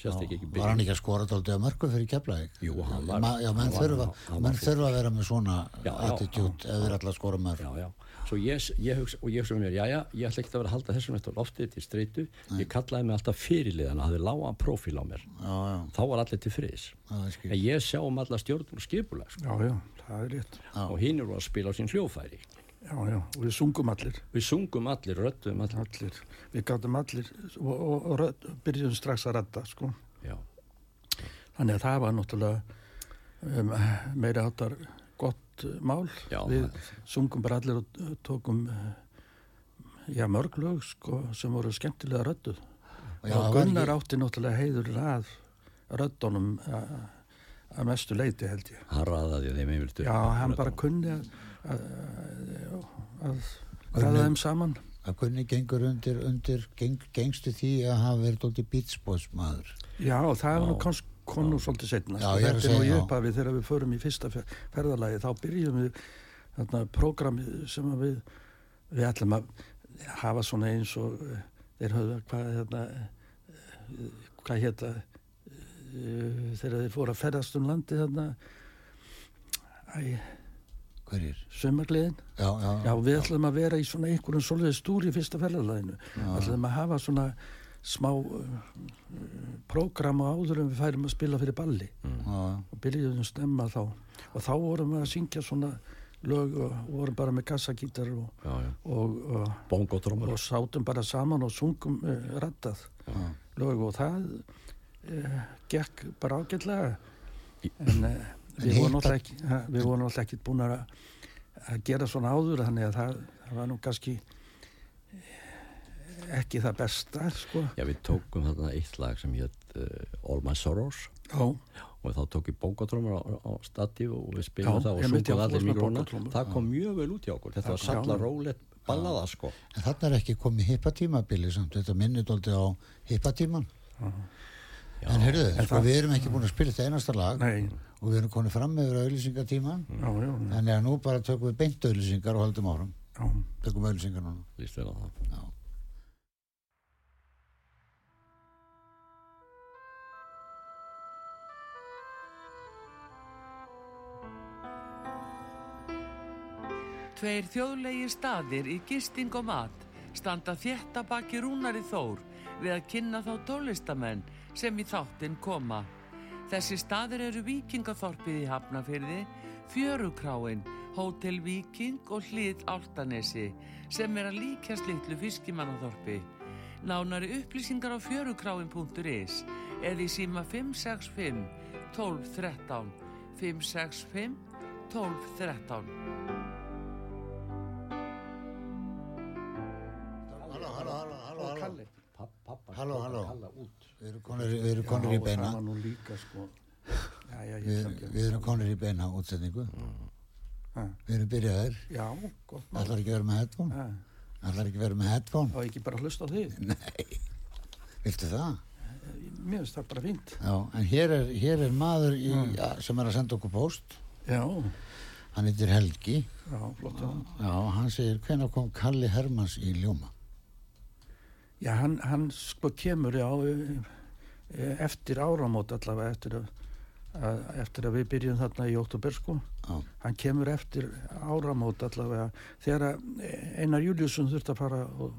Speaker 4: sérstaklega ekki
Speaker 3: Var hann ekki að skora dálítið að mörgu fyrir Keflavík?
Speaker 4: Jú, hann var-
Speaker 3: Ma, já, menn
Speaker 4: hann var-
Speaker 3: þurfa,
Speaker 4: hann var
Speaker 3: menn
Speaker 4: fúll.
Speaker 3: þurfa að vera með svona
Speaker 4: Já, já,
Speaker 3: attitút ef þeir ætla að skora mörg.
Speaker 4: já, já. Svo ég, ég hugsa, og ég hugsa með mér, já, já, ég ætla ekkert að vera að halda þessum eftir loftið til streitu. Ég kallaði mig alltaf fyrirliðan, hafði lágan profíl á mér.
Speaker 3: Já, já,
Speaker 4: Þá var allir til friðis.
Speaker 3: það er skil.
Speaker 4: En ég sjá um alla stjórnum og skipulag, sko.
Speaker 5: já, já, það er rétt
Speaker 4: Og hinn eru að spila á sín hljófæri.
Speaker 5: já, já, og við sungum allir
Speaker 4: Við sungum allir, röddum allir.
Speaker 5: allir, við gátum allir og, og, og rödd, byrjum strax að redda sko.
Speaker 4: Já,
Speaker 5: þannig að það var náttúrulega um, meira áttar gott uh, mál
Speaker 4: Já,
Speaker 5: við
Speaker 4: það-
Speaker 5: sungum bara allir og uh, tókum uh, já, mörg lög sko, sem voru skemmtilega rödduð
Speaker 3: Já, það var
Speaker 5: og Gunnar átti náttúrulega heiður að röddunum að að mestu leiti held ég
Speaker 4: hann raðaði þeim einhvert
Speaker 5: já, hann bara kunni að að, að, að ræða þeim saman
Speaker 3: Að kunni gengur undir, undir geng, gengstu því að hafa verið dólti bítsbóðsmaður.
Speaker 5: Já, það var nú kannski kom nú svolítið setna.
Speaker 3: Já,
Speaker 5: sko.
Speaker 3: ég er að
Speaker 5: Þetta er nú
Speaker 3: segja
Speaker 5: í
Speaker 3: það.
Speaker 5: upphafi þegar við förum í fyrsta fer- ferðalagi, þá byrjum við þarna prógramið sem að við, við ætlum að hafa svona eins og eh, þeir höfðu hvað hérna, eh, hvað hétta þegar þeir fóru að ferðast um landi þarna æ,
Speaker 3: Hverjir?
Speaker 5: sömagliðin.
Speaker 3: Já, já,
Speaker 5: Já, við ætlum að vera í svona einhverjum svolítið stúri í fyrsta ferðalaginu. ætlum að hafa svona smá uh, prógram á áður en við færum að spila fyrir balli
Speaker 3: já,
Speaker 5: og byrjuðum stemma þá og þá vorum við að syngja svona lög og vorum bara með kassakítar og,
Speaker 4: Já, já.
Speaker 5: og, og,
Speaker 4: Bongotrómur.
Speaker 5: og sátum bara saman og sungum uh, rattað lög og það uh, gekk bara ágætlega en uh, við
Speaker 3: hitt að-
Speaker 5: vorum alltaf ekki ha, við vorum alltaf ekki búin að að gera svona áður þannig að það, það var nú kannski eh, ekki það besta sko.
Speaker 4: Já, við tókum þarna eitt lag sem hétt uh, All My Sorrows
Speaker 5: Já,
Speaker 4: og þá tók ég bókatrómur á, á statíf og við spilum
Speaker 5: Já,
Speaker 4: það og
Speaker 5: ég myndi
Speaker 4: sungum
Speaker 5: að
Speaker 4: allir
Speaker 5: fórst með
Speaker 4: mikrona
Speaker 5: bókatrómmur.
Speaker 4: það kom mjög vel út í okkur þetta var salla rólegt ballaða sko
Speaker 3: En þarna er ekki komið hippatímabili samt, þetta minnir dóldi á hippatíman. En heyrðu, sko,
Speaker 5: það-
Speaker 3: við erum ekki búin að spila þetta einasta lag
Speaker 5: Nei.
Speaker 3: og við erum konið fram yfir auðlýsingatíman.
Speaker 5: já, já,
Speaker 3: Þannig að nú bara tökum við beint auðlýsingar og haldum áfram.
Speaker 5: já.
Speaker 3: Tökum auðlýsingar núna.
Speaker 4: líst vel á það
Speaker 3: Já.
Speaker 2: Tveir þjóðlegi staðir í gisting og mat standa þétt að baki rúnari þór við að kynna þá tólistamenn sem í þáttinn koma. Þessi staðir eru Víkingathorpið í Hafnafyrði, Fjörukráin, Hótel Víking og Hlið Áltanesi sem er að líkjast litlu fiskimannathorpi. Nánari upplýsingar á fjörukráin.is eða í síma 565 1213 565 1213
Speaker 3: Halló, halló, halló, halló, halló.
Speaker 4: Pappa,
Speaker 3: Halló, halló.
Speaker 4: út
Speaker 3: Við erum konir, við erum konir í
Speaker 5: og
Speaker 3: beina.
Speaker 5: það var nú líka sko. já, já, ég
Speaker 3: Við,
Speaker 5: ætla ekki að-
Speaker 3: við erum konir í beina útsetningu.
Speaker 5: Ha,
Speaker 3: Við erum byrjaðir.
Speaker 5: já, gott mál
Speaker 3: Ætlar ekki að vera með headphone?
Speaker 5: Ha,
Speaker 3: Ætlar ekki að vera með headphone?
Speaker 5: þá er ekki bara að hlusta á þig
Speaker 3: Viltu það?
Speaker 5: mér finnst það bara fínt
Speaker 3: Já, en hér er, hér er maður í, ja, sem er að senda okkur post.
Speaker 5: já,
Speaker 3: Hann heitir Helgi.
Speaker 5: já, flott já.
Speaker 3: Já, hann segir, hvenær kom Kalli Hermans í Ljóma?
Speaker 5: Já, hann, hann sko kemur já, eh, eftir áramót allavega eftir að, að, eftir að við byrjum þarna í óttúber sko.
Speaker 3: Já,
Speaker 5: Hann kemur eftir áramót allavega þegar að e, Einar Júliusson þurfti að fara og,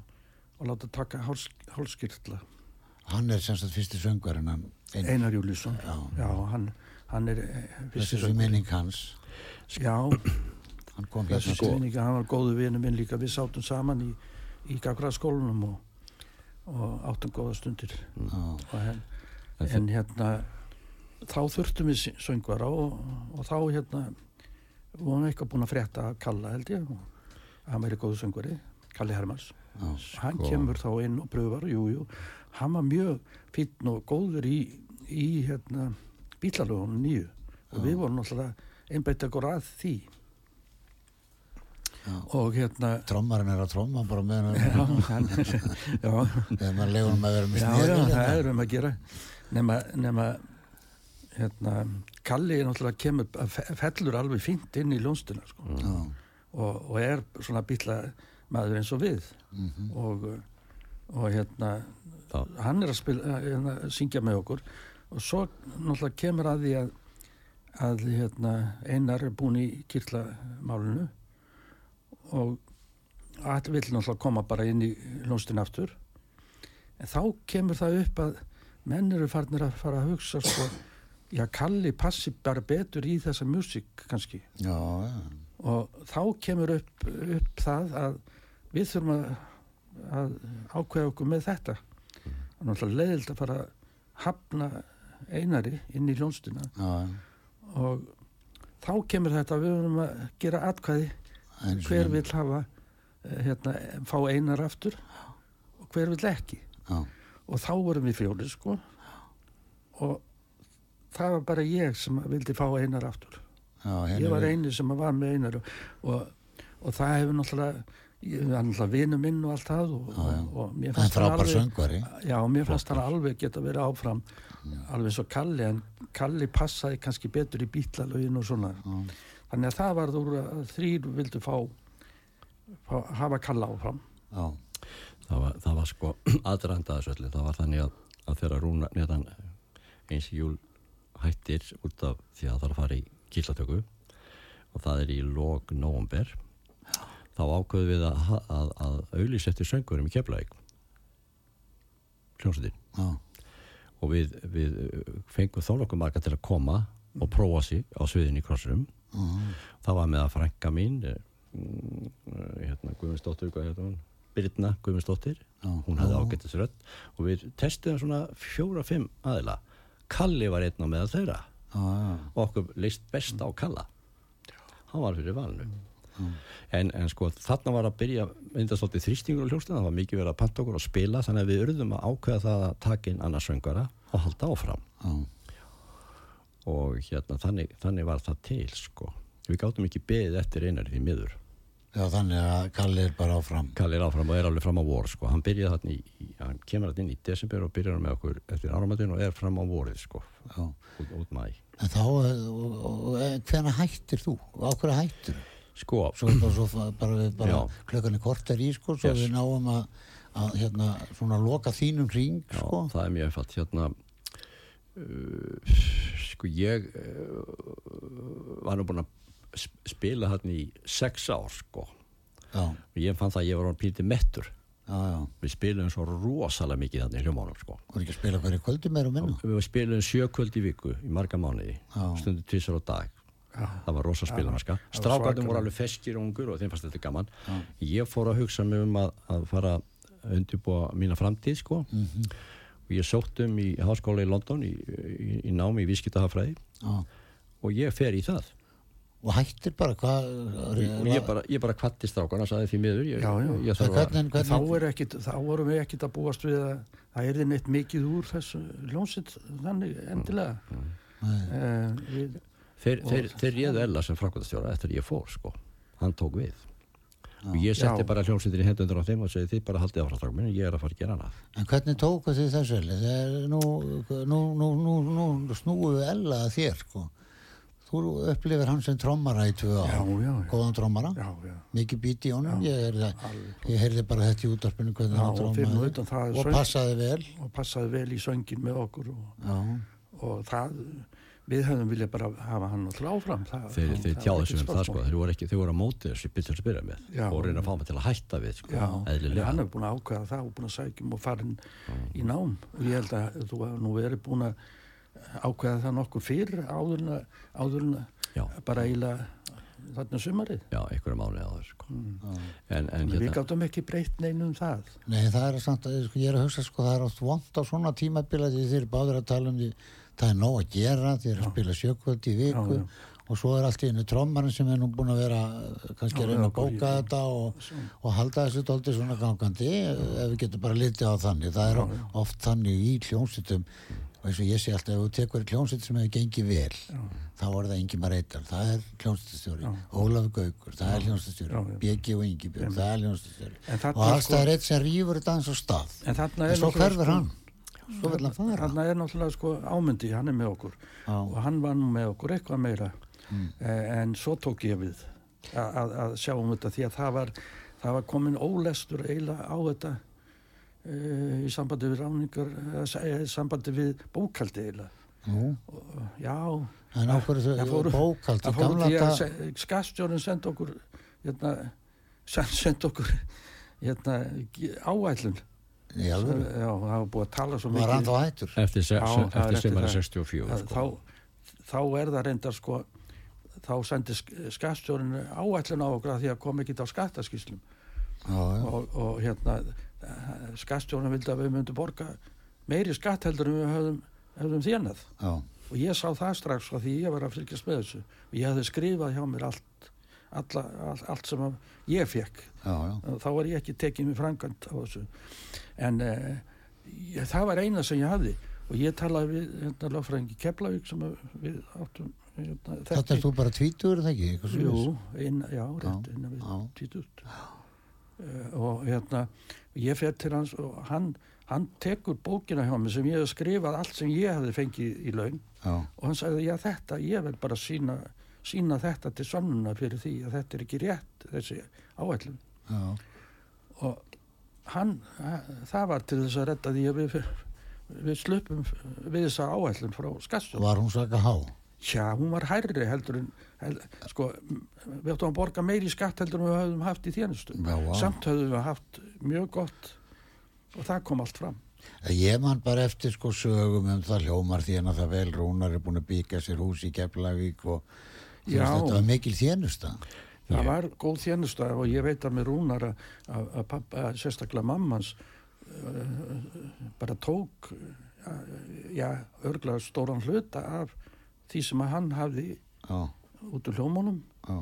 Speaker 5: og láta taka háls, hálskirtla.
Speaker 3: hann er semst að fyrsti söngvarinn hann. Ein,
Speaker 5: Einar Júliusson,
Speaker 3: Já.
Speaker 5: hann, hann er e,
Speaker 3: þessi sem minning hans.
Speaker 5: Já,
Speaker 3: Hann kom
Speaker 5: þessu
Speaker 3: hérna sko.
Speaker 5: stuðninga, hann var góðu vinur minn líka, við sátum saman í, í Gagraskólanum og, og áttum góða stundir.
Speaker 3: Já,
Speaker 5: Og henn, en hérna þá þurftum við sy- söngvara og, og þá hérna vorum við eitthvað búin að frétta að Kalla held ég og hann væri góðu söngvari Kalli Hermans
Speaker 3: já,
Speaker 5: hann kemur þá inn og pröfar jú, jú. hann var mjög fínn og góður í, í hérna, bílalögunum nýju og við vorum náttúrulega einbætt ekkur að því
Speaker 3: Já.
Speaker 5: og hérna
Speaker 3: Trommarinn er að tromma bara með hann.
Speaker 5: já, hann, já,
Speaker 3: Þegar maður legur hann að vera með
Speaker 5: Já,
Speaker 3: sniður.
Speaker 5: já, það er um að gera nema, nema hérna, Kalli er náttúrulega kemur, fe- fellur alveg fínt inn í ljónstuna sko.
Speaker 3: Já,
Speaker 5: og, og er svona býtla maður eins og við og, og hérna
Speaker 4: Það-
Speaker 5: hann er að spila, hérna, syngja með okkur og svo náttúrulega kemur að því að, að hérna, einar er búin í kyrlamálinu og allir vill náttúrulega koma bara inn í ljónstin aftur en þá kemur það upp að menn eru farnir að fara að hugsa sko, já Kalli passi bara betur í þessa músík kannski
Speaker 3: já, já.
Speaker 5: og þá kemur upp, upp það að við þurfum að, að ákveða okkur með þetta og náttúrulega leiðild að fara að hafna einari inn í ljónstuna
Speaker 3: já, já.
Speaker 5: og þá kemur þetta að við verðum að gera atkvæði
Speaker 3: Einu
Speaker 5: hver
Speaker 3: sinni.
Speaker 5: vill hafa eh, hérna, fá einar aftur og hver vill ekki
Speaker 3: Já,
Speaker 5: og þá vorum við fjóri sko og það var bara ég sem vildi fá einar aftur
Speaker 3: já, hérna
Speaker 5: ég var
Speaker 3: við-
Speaker 5: einu sem var með einar og, og, og það hefur náttúrulega ég var náttúrulega vinu minn og allt það og,
Speaker 3: Já, já.
Speaker 5: og, og
Speaker 3: Það er
Speaker 5: mér fannst hann
Speaker 3: frábær
Speaker 5: alveg
Speaker 3: söngvari.
Speaker 5: já, og mér fannst hann alveg geta verið áfram alveg svo Kalli en Kalli passaði kannski betur í bítlalögin og svona þannig að það var úr að þrýr vildu fá, fá hafa Kalla áfram
Speaker 3: Já,
Speaker 4: það var, það var sko aðranda þessu öllu það var þannig að, að þegar Rúna neðan eins í júl hættir út af því að það þarf að fara í kíslatöku og það er í lok november þá ákveðum við að, ha- að, að auðlýs eftir söngurum í Keflavík hljómsveitin
Speaker 3: já,
Speaker 4: og við, við uh, fengum þó nokkuð marga til að koma og prófa sig á sviðinni í krossurum það var með að frænka mín eh, mm, eh, hérna Guðmundsdóttir hvað hérna hún Birna Guðmundsdóttir, hún hafði ágættis rödd og við testiðum svona fjóra-fimm aðila, Kalli var einn á meðal þeirra
Speaker 3: já, já.
Speaker 4: og okkur leist best á Kalla hann var fyrir valinu en, en sko þarna var að byrja myndast alltaf þrýstingur og hljóstina það var mikið verið að panta okkur og spila þannig að við urðum að ákveða það að taka inn annars söngara og halda áfram
Speaker 3: já,
Speaker 4: og hérna þannig, þannig var það til sko við gátum ekki beðið eftir einari því miður
Speaker 3: já, þannig að Kalli er bara áfram
Speaker 4: Kalli er áfram og er alveg fram á vor sko. hann byrjaði þarna í, í- hann kemur þarna inn í desember og byrjar með okkur eftir áramættin og er fram á vorið sko
Speaker 3: já.
Speaker 4: út, út mæ
Speaker 3: en þá, eh, hvena hættir þú og á hverju hættir
Speaker 4: sko,
Speaker 3: svo er bara, svo, fa- bara, við bara
Speaker 4: Já.
Speaker 3: klukkan er kortar í sko, svo
Speaker 4: Yes.
Speaker 3: við náum að, að hérna, svona loka þínum ring
Speaker 4: já,
Speaker 3: sko.
Speaker 4: það er mjög einfalt hérna uh, sko ég uh, var nú búinn að sp- spila þarna í sex ár sko og
Speaker 3: já,
Speaker 4: ég fann það að ég var hann pítið mettur
Speaker 3: já, já
Speaker 4: við spilum svo rosalega mikið þarna í hljómanum sko
Speaker 3: voru ekki að spila hverju kvöldi meira og minna
Speaker 4: við spilum sjökvöld um í viku í marga mánuði,
Speaker 3: Já.
Speaker 4: stundu tvisar á dag það var rosa spilamarska
Speaker 5: það var
Speaker 4: strákarnir voru
Speaker 5: svakalega.
Speaker 4: alveg feskir og ungur og þeim fannst þetta gaman ég fór að hugsa mig um að, að fara að undirbúa mína framtíð sko
Speaker 5: Mhm.
Speaker 4: og ég sótt um í háskóla í London í, í, í námi í vískitahafræði
Speaker 3: já.
Speaker 4: og ég fer í það
Speaker 3: og hættir bara hvað
Speaker 4: og ég bara, ég bara kvatti strákarna sagði því miður ég,
Speaker 5: Já, já.
Speaker 4: ég
Speaker 3: Það,
Speaker 4: þarf að
Speaker 3: hvernig,
Speaker 5: Þá,
Speaker 3: hvernig,
Speaker 5: er ekkit, þá erum við ekkit að búast við að það er neitt mikið úr þessu ljónsitt þannig endilega. Mm. við,
Speaker 4: þeir, þeir, þeir réðu Ella sem framkvæmastjóra eftir að ég fór sko, hann tók við og ég setti
Speaker 5: Já.
Speaker 4: bara hljómsveitinni hendur á þeim og segi þið bara haldið áfram strákum minn ég er að fara að gera annað
Speaker 3: en hvernig tóku þið þessu Elli? Það er nú, nú, nú, nú, nú snúum við Ella að þér sko. þú upplifir hann sem trommara í tvö ár
Speaker 5: Já, já, já.
Speaker 3: góðan trommara
Speaker 5: já, já.
Speaker 3: mikið bíti í honum ég, er, ég heyrði bara þetta í útdarpinu hvernig
Speaker 5: Já,
Speaker 3: hann
Speaker 5: og fyrir nú
Speaker 3: trommaði
Speaker 5: utan það er
Speaker 3: og
Speaker 5: söng-
Speaker 3: passaði vel
Speaker 5: Og passaði vel í söngin með okkur og,
Speaker 3: já,
Speaker 5: og það, við höfum viljað bara hafa hann alltaf áfram. Það,
Speaker 4: þeir,
Speaker 5: það-
Speaker 4: þeir
Speaker 5: það
Speaker 4: tjáðu
Speaker 5: er
Speaker 4: sér um
Speaker 5: ekkert
Speaker 4: það sko
Speaker 5: spörsmál.
Speaker 4: þeir voru, ekki, þeir voru að móti þessu byrja að spyrja með
Speaker 5: Já.
Speaker 4: og reyna að fá mig til að hætta við sko,
Speaker 5: Já, en
Speaker 4: eðlilega
Speaker 5: hann hefur búin að ákveða það og búin að sækjum og farin í nám og ég held að þú hefur nú verið búin að ákveða það nokkur fyrr áðurna, áðurna
Speaker 4: Já.
Speaker 5: bara eiginlega þarna um sumarið.
Speaker 4: já, einhverja mánuði á þessu sko.
Speaker 5: Mm.
Speaker 4: en, en
Speaker 5: Við
Speaker 4: hérna,
Speaker 5: gáttum ekki breytt neinu um það.
Speaker 3: nei það er samt að sko, ég er að hugsa sko það er oft vond á svona tímabila því þeir eru báður að tala um því það er nóg að gera, þeir eru að spila sjökvöld í viku
Speaker 5: Já, já.
Speaker 3: og svo er allt í einu trommarinn sem er nú búin að vera eh, kannski
Speaker 5: Já,
Speaker 3: að reyna
Speaker 5: já,
Speaker 3: að bóka
Speaker 5: bara í-
Speaker 3: þetta og, og halda þessu dóldi svona gangandi eh, ef við getum bara litið á þannig það er oft þannig í kljónsitum og eins og ég sé alltaf ef þú tekur kljónsit sem hefur gengið vel þá er það Ingi Mareital, það er kljónsitstjóri Ólaf Gaugur, það er
Speaker 5: Já,
Speaker 3: kljónsitstjóri
Speaker 5: já.
Speaker 3: BG og Ingi Björn, það er kljónsitstjóri
Speaker 5: En þarna
Speaker 3: og
Speaker 5: er
Speaker 3: alls
Speaker 5: sko-
Speaker 3: það er eitt sem rýfur þetta eins og stað
Speaker 5: En þarna er
Speaker 3: en svo
Speaker 5: náttúrulega sko-
Speaker 3: hverfur hann svo vil hann fara
Speaker 5: Þarna er náttúrulega sko ámyndi, hann er með okkur
Speaker 3: Já. Mm.
Speaker 5: og hann var nú með okkur eitthvað meira Eh, en svo tók ég við að, að, að sjá um þetta því að það var, það var komin ólestur eiginlega á þetta uh, í sambandi við ráningar, eða e, í sambandi við bókaldi eiginlega.
Speaker 3: Nú,
Speaker 5: Og, já,
Speaker 3: en á hverju
Speaker 5: það
Speaker 3: þau
Speaker 5: fóru-
Speaker 3: bókald í
Speaker 5: það fór
Speaker 3: gamla
Speaker 5: því að
Speaker 3: dag
Speaker 5: se- skastjórinn sendi okkur, hérna, send, sendi okkur hérna, g- áætlun.
Speaker 3: í
Speaker 5: Já,
Speaker 3: alvöru
Speaker 5: það var búið að tala svo mikið.
Speaker 3: var hann þá hættur
Speaker 4: eftir, se,
Speaker 5: Já,
Speaker 4: se,
Speaker 5: það er
Speaker 4: eftir
Speaker 5: eftir
Speaker 4: semari
Speaker 5: það.
Speaker 4: 64
Speaker 5: Það-
Speaker 4: sko.
Speaker 5: þá, þá er það reyndar sko þá sendi skattstjórin áætlun á okkur að því að kom ekki á skattaskýslum
Speaker 3: já, já.
Speaker 5: og, og hérna skattstjórin vildi að við myndum borga meiri skatt heldur en við höfum, höfum þjánað
Speaker 3: já,
Speaker 5: og ég sá það strax á því ég var að fylgjast með þessu og ég hafði skrifað hjá mér allt alla, all, allt sem að ég fekk
Speaker 3: já, já,
Speaker 5: þá var ég ekki tekið mér frangand á þessu en uh, ég, það var eina sem ég hafði og ég talaði við hérna lögfræðingi Keflavík sem að við áttum hérna,
Speaker 3: þetta er þú bara tvítur það ekki, eitthvað
Speaker 5: Jú,
Speaker 3: svoleiðis?
Speaker 5: inn, já, rétt,
Speaker 3: Já,
Speaker 5: innan við
Speaker 3: já.
Speaker 5: títut og hérna ég fer til hans og hann, hann tekur bókina hjá mig sem ég hef skrifað allt sem ég hafði fengið í laun
Speaker 3: já,
Speaker 5: og hann sagði, já þetta, ég vil bara sína, sína þetta til sannuna fyrir því að þetta er ekki rétt, þessi áætlum
Speaker 3: já,
Speaker 5: og hann, eh, það var til þess að redda því að við, við slupum við þessa áætlun frá skattstöð
Speaker 3: var hún svaka há
Speaker 5: Já, hún var hærri heldur en hel, sko, m- við áttum að borga meiri í skatt heldur en við höfum haft í þjónustu
Speaker 3: Já, vá.
Speaker 5: samt höfum við haft mjög gott og það kom allt fram
Speaker 3: Ég man bara eftir sko sögum um það hljómar þérna það vel Rúnar er búin að byggja sér hús í Keflavík og þú
Speaker 5: Já.
Speaker 3: veist, þetta var mikil þjónusta.
Speaker 5: það var góð þjónusta og ég veit að mér rúnar að, að, að, pappa, að sérstaklega mammans uh, bara tók uh, já, örglega stóran hluta af því sem að hann hafði
Speaker 3: Já,
Speaker 5: út úr hljómunum
Speaker 3: já,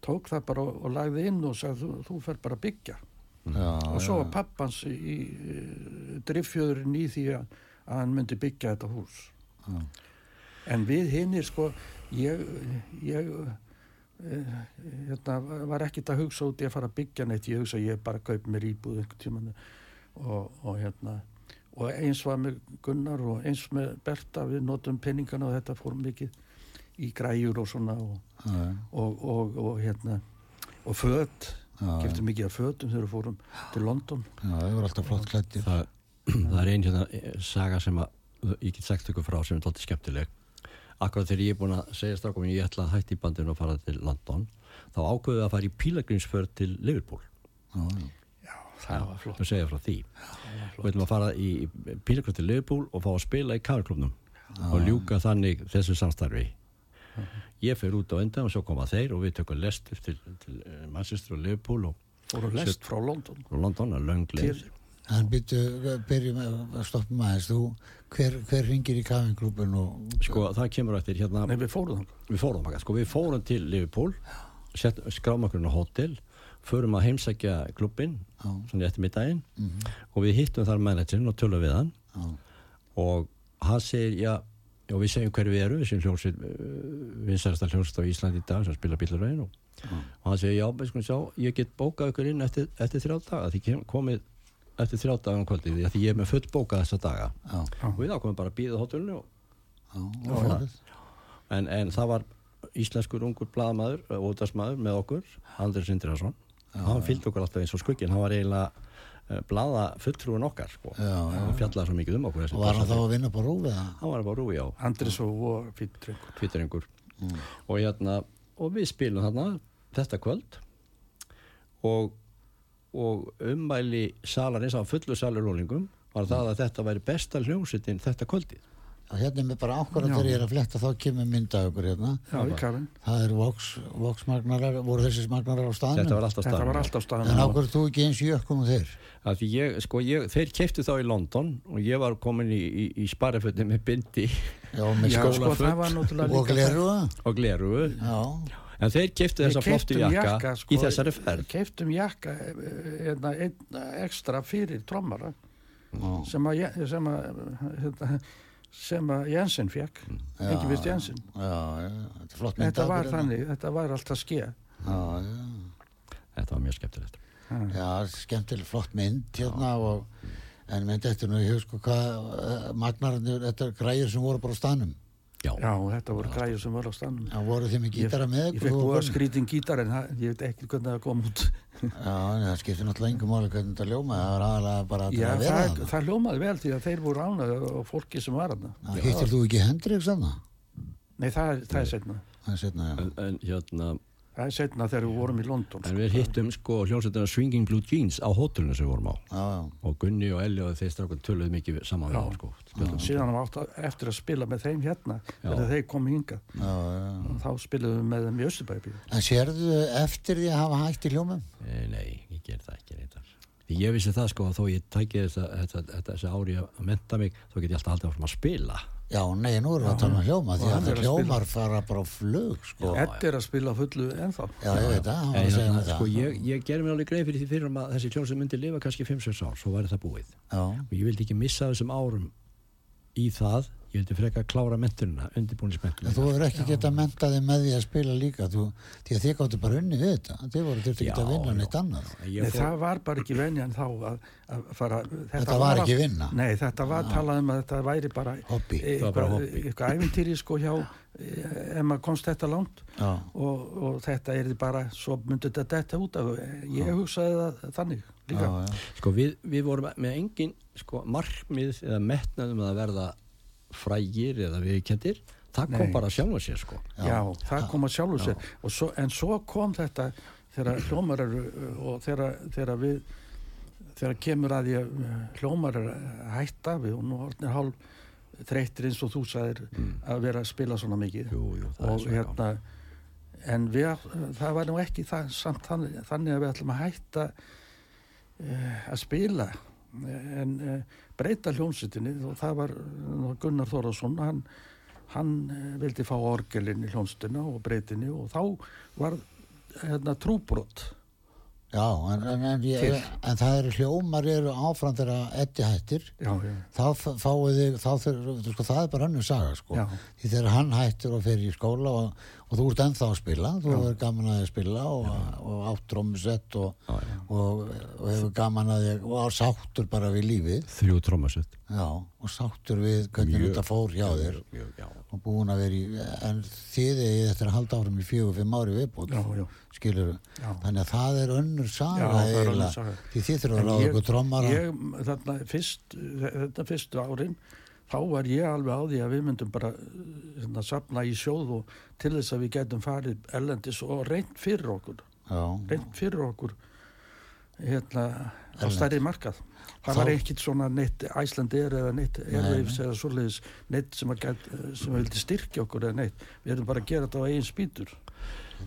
Speaker 5: tók það bara og, og lagði inn og sagði þú, þú fer bara að byggja
Speaker 3: já,
Speaker 5: og svo
Speaker 3: já.
Speaker 5: var pappans í, í driffjöðurinn í því að, að hann myndi byggja þetta hús
Speaker 3: Já.
Speaker 5: en við hinnir sko ég, ég eh, hérna, var ekkit að hugsa út í að fara að byggja neitt ég hugsa ég bara kaup mér íbúð einhvern tíman og, og hérna og eins var með Gunnar og eins með Berta við notum penningana og þetta fór mikið í græjur og svona og,
Speaker 3: Já,
Speaker 5: og, og, og hérna og föt,
Speaker 3: já, já.
Speaker 5: keftum mikið af fötum þegar við fórum til London
Speaker 3: Já, þau voru alltaf flott klættir.
Speaker 4: það, það er ein hérna eh, saga sem að ég get sagt ykkur frá sem er alltaf skemmtileg akkurat þegar ég er búin að segja strákum ég ætla að hætti í bandinu og fara til London þá ákveðu við að fara í pílagrinsförð til Liverpool
Speaker 3: Já, já.
Speaker 5: já, það var flott
Speaker 4: og segja frá því og veitum að fara í pílagrinsförð til Liverpool og fá að spila í kárklubnum og ljúka þannig þessu samstarfi
Speaker 5: Mhm.
Speaker 4: ég fer út á enda og svo koma þeir og við tökum lestur til, til eh, Manchester og Liverpool og,
Speaker 5: fórum lest frá London
Speaker 4: og London að löng leið
Speaker 5: til,
Speaker 3: En byrju, byrjum að stoppa maður, þú, hver, hver ringir í kafinklúbin og...
Speaker 4: sko það kemur eftir hérna
Speaker 5: nei við fórum þangað
Speaker 4: við fórum þangað, sko við fórum til Liverpool, sett, skráum okkur inn á hótel, förum að heimsækja klubbin,
Speaker 3: Já. Mhm.
Speaker 4: svona eftir middaginn og við hittum þar managerinn og tölum við hann
Speaker 3: Já,
Speaker 4: og hann segir, já, já við segjum hverju við erum, við segjum hljómsveit vinsarasta hljómsveit á Íslandi í dag sem spila bílarögin og, og hann segir, já, við skulum sjá ég get bókað ykkur inn eftir, eftir þrjá daga því kem- komið eftir þrjá daga um kvöldið, því að ég er með full bókað þessa daga
Speaker 3: já,
Speaker 4: og við ákomum bara að býða hótelinu og
Speaker 3: já, og fórið.
Speaker 4: en, en það var íslenskur ungur blaðmaður, ótarsmaður með okkur, Andri Sindrason hann fylgdi okkur alltaf eins og skugginn hann var eiginlega uh, blaða fulltrúin okkar sko.
Speaker 3: Já, já.
Speaker 4: og fjallaði svo mikið um okkur þessi
Speaker 3: Og var hann þá
Speaker 4: dansari.
Speaker 3: að vinna bara úr við það?
Speaker 4: hann var bara rúi á
Speaker 5: Andris og Vó fyrir drengur
Speaker 4: tvíturengur
Speaker 3: Mm.
Speaker 4: og, hérna, og við spilum þarna þetta kvöld og, og ummæli salarins á fullu salarúlingum var það að þetta væri besta hljómsveitin þetta kvöldið
Speaker 3: Og hérna er mér bara ákvarðan þegar ég er að fletta, þá kemur mynda okkur hérna.
Speaker 5: já, í Karen,
Speaker 3: Það eru Vox, Vox magnarar, voru þessi magnarar á staðnum?
Speaker 4: þetta var alltaf
Speaker 5: þetta var
Speaker 4: staðnum.
Speaker 5: alltaf
Speaker 3: En
Speaker 5: staðan
Speaker 3: ákvarðu þú ekki eins í ökkum og þeir?
Speaker 4: að því ég, sko, ég, þeir keiptu þá í London og ég var komin í, í, í sparafötni með bindi
Speaker 3: Já, með
Speaker 5: já, sko,
Speaker 3: skólaföld
Speaker 5: það var náttúrulega
Speaker 3: og
Speaker 5: líka
Speaker 3: gleruða?
Speaker 4: og gleru
Speaker 3: Já,
Speaker 4: en þeir keiptu þessa flottu jakka,
Speaker 5: sko,
Speaker 4: í þessari ferð
Speaker 5: keiftum jakka einna, einna ekstra fyrir trommara sem að, Je- sem að, hérna, sem að Jensen fekk ekki vist Jensen
Speaker 3: já, já, þetta er flott mynda.
Speaker 5: þetta var þannig, þetta var alltaf skeið
Speaker 3: hérna. Já, já.
Speaker 4: þetta var mjög skemmtilegt
Speaker 3: Já, skemmtileg, flott mynd hérna og en mynd eftir nú, ég hef sko hvað uh, magnararnir, þetta er græjur sem voru bara á stanum
Speaker 4: já,
Speaker 5: Já, þetta voru græður sem voru á stannum.
Speaker 3: það voru þeim í gítara með
Speaker 5: Ég
Speaker 3: ykkur þú
Speaker 5: fekk
Speaker 3: og
Speaker 5: búið að
Speaker 3: Gunnar?
Speaker 5: skrýtin gítar en það, ég veit ekki hvernig það kom út.
Speaker 3: Já, en það skiptir náttúrulega engum máli hvernig þetta ljóma það var aðalega bara til
Speaker 5: Já,
Speaker 3: að vera
Speaker 5: það,
Speaker 3: það
Speaker 5: það ljómaði vel því að þeir voru ánað og fólki sem var aðna.
Speaker 3: Já, hittir þú ekki Hendrik sanna?
Speaker 5: Nei, það, er- það er setna.
Speaker 3: Það er setna, já
Speaker 4: en, en hérna
Speaker 5: Það er setna þegar við vorum í London.
Speaker 4: en við hittum sko hljómsveitina Swinging Blue Jeans á hótelinu sem við vorum á
Speaker 3: Já, já,
Speaker 4: og Gunni og Elli og þeir strákun töluðu mikið saman við
Speaker 5: Já.
Speaker 4: hann sko Spjöllum.
Speaker 5: Síðan átt að- eftir að spila með þeim hérna þegar þeir komu hingað.
Speaker 3: já, já
Speaker 5: Þá spilaðum við með þeim í Östubæpi.
Speaker 3: En sérðu eftir því að hafa hægt í ljómum?
Speaker 4: Eh, Nei, ég ger það ekki reyndar. Því ég vissi það sko að þó ég tæki þessa, þessa, þetta- þessi ári að menta mig, þá get ég alltaf haldið áfram að spila.
Speaker 3: Já, nei, nú erum við að tala um hljóma því
Speaker 5: Og hann
Speaker 3: að
Speaker 5: er að
Speaker 3: hljómar fara bara á flug, sko Já,
Speaker 5: Edd er að spila á fullu ennþá.
Speaker 3: ég veit það, hann var
Speaker 4: En
Speaker 3: að segja
Speaker 4: hérna,
Speaker 3: með það
Speaker 4: sko, ég, ég gerði mér alveg greið fyrir því fyrir um að þessi hljómsveit myndi lifa kannski 5-6 ár, svo væri það búið.
Speaker 3: Já,
Speaker 4: Og ég vildi ekki missa af þessum árum í það, ég vildi frekar klára mentunina,
Speaker 3: En
Speaker 4: undirbúningsmentunina.
Speaker 3: þú hefur ekki getað mentað þig með því að spila líka þú, því að þið gáttu bara unni við þetta þið voru þurfti ekki að
Speaker 4: Já,
Speaker 3: vinna
Speaker 4: já.
Speaker 3: neitt annað
Speaker 4: Ég
Speaker 5: Nei,
Speaker 4: fór,
Speaker 5: það var bara ekki venjan þá að, að fara...
Speaker 3: Þetta var ekki vinna.
Speaker 5: Nei, þetta var talað um að þetta væri bara...
Speaker 3: Hobby.
Speaker 5: Eitthvað,
Speaker 4: var bara hobby.
Speaker 5: Eitthvað æfintýri sko hjá, eh, ef maður komst þetta langt
Speaker 3: Já.
Speaker 5: og, og þetta er bara, svo myndi þetta detta út af. Ég hugsaði það þannig líka.
Speaker 3: Já, já.
Speaker 4: sko, við, við vorum með engin sko, markmið eða metnaðum að verða frægir eða viðkendir, það kom
Speaker 5: Nei.
Speaker 4: bara sjálf að sér sko.
Speaker 5: Já, það kom að sjálfu sér og svo, en svo kom þetta þegar hljómar eru og þegar, þegar við þegar kemur að ég hljómar er að hætta við og nú orðnir hálf þreyttir eins og þú sagðir
Speaker 3: Mm.
Speaker 5: að vera að spila svona mikið
Speaker 4: Jú, jú, það er
Speaker 5: og
Speaker 4: svona
Speaker 5: hérna en við, það var nú ekki það, samt þannig, þannig að við ætlum að hætta uh, að spila en uh, breyta hljómsutinni og það var eh, Gunnar Þórðarsson hann, hann eh, vildi fá orgelinn í hljómsutina og breytinni og þá var hérna, trúbrot
Speaker 3: Já, en, en, en, ég,
Speaker 5: Til.
Speaker 3: en það eru hljómar eru áfram þegar Eddi hættir
Speaker 5: já, já,
Speaker 3: þá f- fáið þig, þá þurfum sko, það er bara önnur saga sko
Speaker 5: Já.
Speaker 3: því þegar hann hættur og fer í skóla og, og þú ert ennþá að spila, þú hefur gaman að því að spila og, og átt trómusett og, og, og hefur gaman að því og á sáttur bara við lífið
Speaker 4: þrjú trómasett
Speaker 3: já, og sáttur við hvernig þetta fór hjá þér
Speaker 4: Mjög, já.
Speaker 3: og búin að vera í en þið er þetta að halda áfram í fjögur fimm ári viðbútt
Speaker 5: Já, já.
Speaker 3: skilur
Speaker 5: Já.
Speaker 3: þannig að það er önnur saga
Speaker 5: Já, það er önnur
Speaker 3: eiginlega.
Speaker 5: saga.
Speaker 3: því þið þurfum
Speaker 5: En
Speaker 3: að ráða
Speaker 5: ég-
Speaker 3: ykkur trommara
Speaker 5: ég, þarna, fyrst, þetta fyrstu árin þá var ég alveg á því að við myndum bara hérna, sapna í sjóð og til þess að við gætum farið erlendis og reynt fyrir okkur
Speaker 3: já,
Speaker 5: reynt fyrir okkur hérna, á
Speaker 3: Erlend.
Speaker 5: stærri markað það
Speaker 3: Þá-
Speaker 5: var ekkit svona neitt Æslandir eða neitt Airwaves eða svoleiðis neitt sem, að gæt, sem að vildi styrkja okkur eða neitt við erum bara að gera þetta á eigin spýtur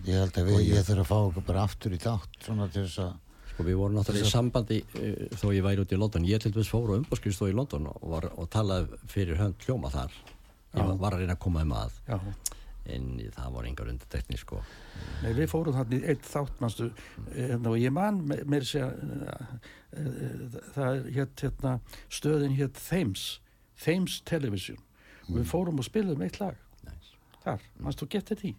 Speaker 3: ég held að við, ég þurf að fá ykkur bara aftur í takt svona til þess að
Speaker 4: Sko við vorum náttúrulega í sambandi eh, þó ég væri út í London. Ég til dæmis fór á umbóðskrifstofu í London og, var, og talaði fyrir hönd hljóma þar. Ég var- var að reyna að koma um að
Speaker 5: já
Speaker 4: en það var engar undirtekni sko.
Speaker 5: Nei, við fórum þarna í eitt þátt, mannstu, hérna, og ég man me- meira segja, eh, eh, það hétt, hérna, stöðin hétt Thames, Thames Television. og Við fórum og spilum eitt lag
Speaker 4: Mm. Nice.
Speaker 5: þar, mannstu, getið því?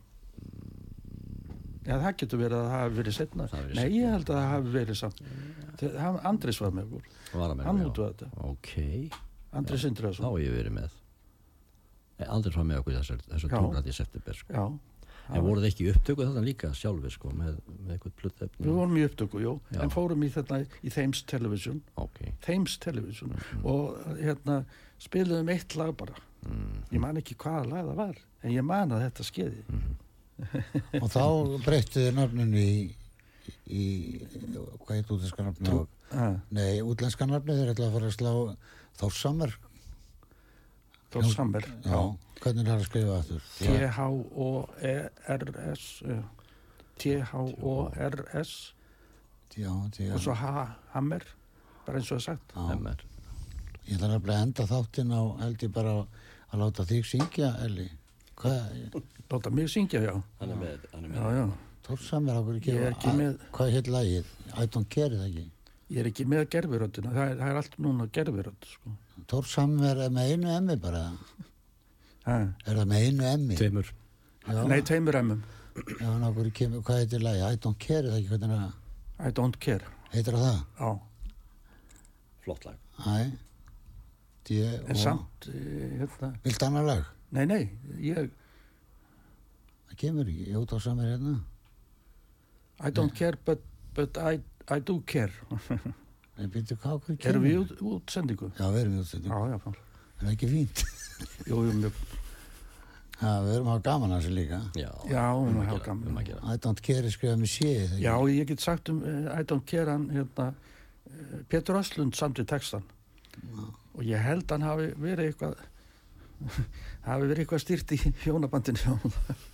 Speaker 5: Já, það getur verið að það hafi verið setna.
Speaker 4: Mm. Það hafi verið
Speaker 5: Nei, ég held að það hafi verið samt. Það- hann- Andrés var með okkur,
Speaker 4: Var að með
Speaker 5: Hann
Speaker 4: já.
Speaker 5: útvegaði þetta.
Speaker 4: Ok,
Speaker 5: Andrés
Speaker 4: þá
Speaker 5: Sindræðsson.
Speaker 4: hef ég verið með. Eh, Andrés var með okkur þessar, þessar
Speaker 5: Já.
Speaker 4: tónrætt í september sko.
Speaker 5: Já,
Speaker 4: En voru þið ekki í upptöku þarna líka sjálfi sko með, með eitthvað plötefni?
Speaker 5: við vorum í upptöku, jú,
Speaker 4: Mm. Já.
Speaker 5: en fórum í þarna í Thames Television.
Speaker 4: Ok,
Speaker 5: Thames Television og hérna spiluðum eitt lag bara ég man ekki hvaða lag það var en ég man að þetta skeiði
Speaker 3: og þá breyttu þið nöfninu í, í hvað heit útlenska nöfninu
Speaker 5: mm.
Speaker 3: nei, útlenska nöfninu þeir ætla að fara að slá Þórsammer
Speaker 5: Þór Samver
Speaker 3: já, hvernig er það að skrifa aftur Já,
Speaker 5: T-H-O-E-R-S E eh, T-H-O-R-S
Speaker 3: já, já.
Speaker 5: E og svo H-Hammer bara eins og það er sagt
Speaker 3: Já.
Speaker 4: MR.
Speaker 3: ég þarf nefnilega að enda þáttinn á held ég bara að- að láta þig syngja Elli hvað,
Speaker 5: láta mig syngja já
Speaker 4: Hann er með, hann er
Speaker 5: já já
Speaker 3: Þórsammer ákveður
Speaker 5: Ég er ekki
Speaker 3: að-
Speaker 5: með-
Speaker 3: hvað heit lagið, ætlum kerið ekki
Speaker 5: ég er ekki með gerfiröddina það, er- það er allt núna gerfirödd sko.
Speaker 3: Þórsammer er með einu emmi bara
Speaker 5: Ha.
Speaker 3: er það með einu emmi
Speaker 4: Tveimur.
Speaker 5: nei tveimur emmum
Speaker 3: Já, en okkur kemur, hvað heitir lagi? I don't care, er það ekki hvernig það
Speaker 5: I don't care
Speaker 3: heitir það?
Speaker 5: já.
Speaker 4: Flott lag.
Speaker 3: Æ, D
Speaker 5: en
Speaker 3: og...
Speaker 5: samt eh, hérna,
Speaker 3: Viltu annar lag?
Speaker 5: nei nei ég
Speaker 3: Það kemur ekki, ég út á samir hérna.
Speaker 5: I don't care but, but I, I do care
Speaker 3: Nei, býttu hvað okkur kemur?
Speaker 5: erum við í út, útsendingu?
Speaker 3: Já, við erum í útsettum.
Speaker 5: já, já, já.
Speaker 3: Það er ekki fínt.
Speaker 5: Jú, jú, mjög,
Speaker 3: Já, við erum að hafa gaman að þessu líka.
Speaker 4: Já,
Speaker 5: já, hún er
Speaker 4: gera- um
Speaker 5: gaman
Speaker 4: að gera.
Speaker 3: I don't care er skrifað með sé, er það ekki?
Speaker 5: já, ég get sagt um uh, I don't care hann hérna, uh, Pétur Östlund samt í textan og ég held hann hafi verið eitthvað hafi verið eitthvað styrt í hjónabandinu hjá honum.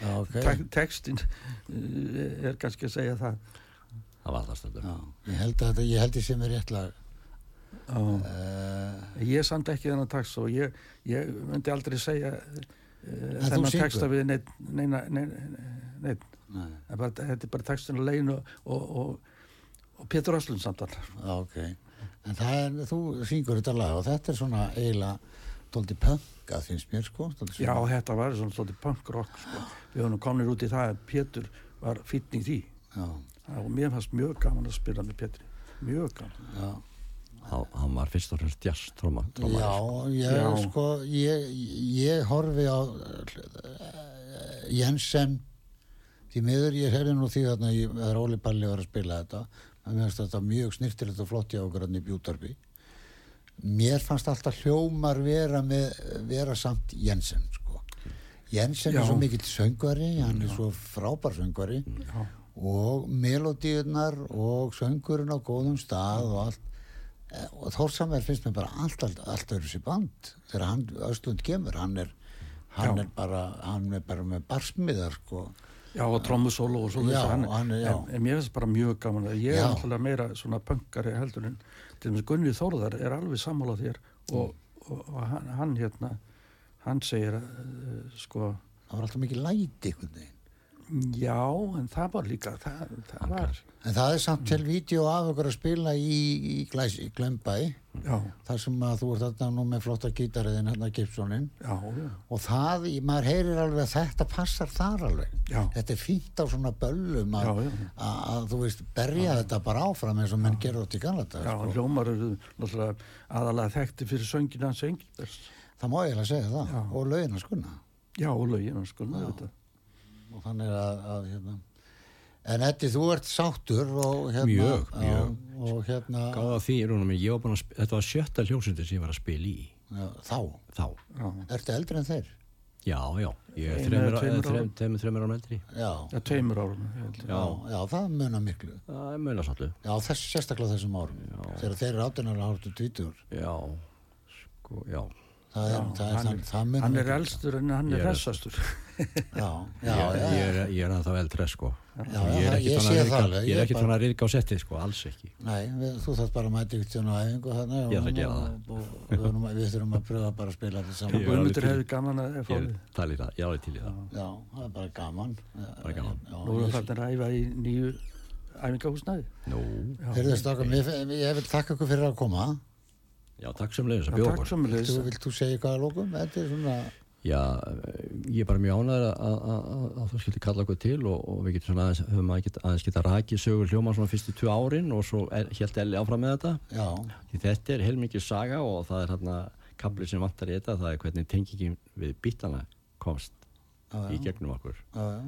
Speaker 3: Já, ok.
Speaker 5: Tek- textin uh, er kannski að segja það
Speaker 4: Það var það stöndum.
Speaker 3: Já, ég held að þetta, ég held ég sem er rétt lag.
Speaker 5: já
Speaker 3: Uh,
Speaker 5: Ég samt ekki þennan texta og ég, ég myndi aldrei segja uh,
Speaker 3: þú
Speaker 5: þennan
Speaker 3: syngur?
Speaker 5: texta við neitt, neina, neina, neina.
Speaker 3: nei,
Speaker 5: Það er bara, þetta er bara textin á leginu og, og, og Pétur Öslund samtal.
Speaker 3: já, ok. En það er, þú syngur þetta lag og þetta er svona eiginlega dóldi pönga, finnst mér, sko. dálítið
Speaker 5: Já,
Speaker 3: svona-
Speaker 5: þetta var svona svolítið punkrock, sko. Við höfum komnir út í það að Pétur var fýtn í því.
Speaker 3: Já.
Speaker 5: Það- Og mér fannst mjög gaman að spila með Pétri. Mjög gaman.
Speaker 4: Hann hann var fyrst og fremst jazz tróma.
Speaker 3: Já, ég,
Speaker 5: Já.
Speaker 3: Sko, ég, ég horfi á eh, Jensen því miður ég herði nú því þarna ég- þegar Óli Palli var að spila þetta en mér fannst þetta mjög snirtilegt og flott hjá okkur hann í Bjútarby mér fannst alltaf hljómar vera, með, vera samt Jensen sko. Jensen
Speaker 5: Já. Mm.
Speaker 3: er svo mikill söngvari hann er svo frábær söngvari
Speaker 5: Já,
Speaker 3: og melodíunar og söngurinn á góðum stað og allt Eh, og Þórsamver finnst mér bara allt, allt, allt öðru sér band þegar hann, Östlund kemur hann er, hann
Speaker 5: Já.
Speaker 3: er bara hann er bara með barsmiðar sko.
Speaker 5: já og trommusólu og svona.
Speaker 3: Já,
Speaker 5: þessu,
Speaker 3: hann er- já.
Speaker 5: En, en mér finnst bara mjög gaman. að- Ég er
Speaker 3: Já.
Speaker 5: alltaf meira svona punkari heldur en til þess að Gunni Þórðar er alveg sammála þér og,
Speaker 3: Mm.
Speaker 5: og, og hann, hann hérna, hann segir að, uh, sko,
Speaker 3: það var alltaf mikið læti einhvern veginn
Speaker 5: Já, en það var líka, það, það var,
Speaker 3: En það er samt til vídeo af ykkur að spila í, í, glæs, í Glembæ
Speaker 5: já,
Speaker 3: þar sem að þú ert þarna nú með flotta gítariðin hérna Gibsonin
Speaker 5: já, já,
Speaker 3: og það, í- maður heyrir alveg að þetta passar þar alveg
Speaker 5: Já.
Speaker 3: þetta er fínt á svona böllum að,
Speaker 5: Já, já.
Speaker 3: að, að þú veist, berja þetta bara áfram eins og menn gerur þetta í galata
Speaker 5: já, hljómar eru náttúrulega aðalega þekkti fyrir söngina hans Engilberts.
Speaker 3: það má eiginlega segja það
Speaker 5: Já.
Speaker 3: og lögin að skunna
Speaker 5: Já, og lögin, sko, maður þetta.
Speaker 3: og þannig að, að hérna. en Eddi, þú ert sáttur og hérna
Speaker 4: Mjög, mjög.
Speaker 3: Já, og hérna
Speaker 4: Gáða því í rúnum, ég var búin að, sp- þetta var sjötta hljómsundi sem ég var að spila í
Speaker 3: já, þá,
Speaker 4: þá.
Speaker 3: ertu eldri en þeir
Speaker 4: Já, já, ég
Speaker 5: Einu
Speaker 4: er þreymur
Speaker 5: eða tveimur árum.
Speaker 4: þreim, þreim, árum eldri.
Speaker 3: já, já,
Speaker 5: Já, tveimur árum. ég held.
Speaker 4: Já,
Speaker 3: já það munar miklu
Speaker 4: það er mjög svolítið.
Speaker 3: já, þess, sérstaklega þessum árum þegar þeir eru áttunar og hálftu tvítur
Speaker 4: Já, sko, já.
Speaker 3: það, er, það, er,
Speaker 5: hann
Speaker 3: það, það munar
Speaker 5: Hann er
Speaker 3: miklu.
Speaker 5: elstur en hann
Speaker 4: Ég
Speaker 5: er
Speaker 4: er
Speaker 5: hressastur.
Speaker 3: já, já,
Speaker 4: ég,
Speaker 3: já,
Speaker 4: Ég er, ég er ennþá eldre, sko.
Speaker 3: Já,
Speaker 4: ég er
Speaker 3: já,
Speaker 4: ekki
Speaker 3: ég sé það alveg, ég
Speaker 4: Ég
Speaker 3: er
Speaker 4: er ekki
Speaker 3: bara-
Speaker 4: tónar að riðka á settið, sko, alls ekki.
Speaker 3: Nei, við, þú þarft bara að mæta ykkur tjónu æfingu þannig og,
Speaker 4: Ég ætla að gera
Speaker 3: og, og, og við, erum, við þurfum að pröfa bara að spila þetta saman.
Speaker 4: Ég er alveg
Speaker 5: Guðmundur
Speaker 4: til-
Speaker 5: hefði gaman að fá
Speaker 4: Ég er
Speaker 5: við.
Speaker 4: til í það, ég er alveg til í það.
Speaker 3: Já, það er bara gaman.
Speaker 4: Bara gaman.
Speaker 3: Já,
Speaker 5: Nú er
Speaker 3: ég-
Speaker 5: hann þarna að ræfa í nýju æfingahúsnaði.
Speaker 4: Nú,
Speaker 3: Heyrðu strákar, mér fin- ég vil þakka ykkur fyrir að koma.
Speaker 4: já, takk sem leiðis
Speaker 5: Já,
Speaker 4: að bjóða
Speaker 5: takk
Speaker 4: okkur.
Speaker 5: samanlegis.
Speaker 3: Þú, vilt þú segja eitthvað að lókum? Þetta er svona,
Speaker 4: Já, eh, ég er bara mjög ánæður að að- að- að þú skildi kalla okkur til og, og við getum svona aðeins, höfum aðeins, aðeins geta rakið sögur hljóma svona fyrstu tvö árin og svo helt Elli áfram með þetta.
Speaker 3: já,
Speaker 4: Því þetta er heilmikið saga og það er hérna kaplið sem vantar í þetta, það er hvernig tengingin við býtana komst í gegnum okkur
Speaker 3: já, já.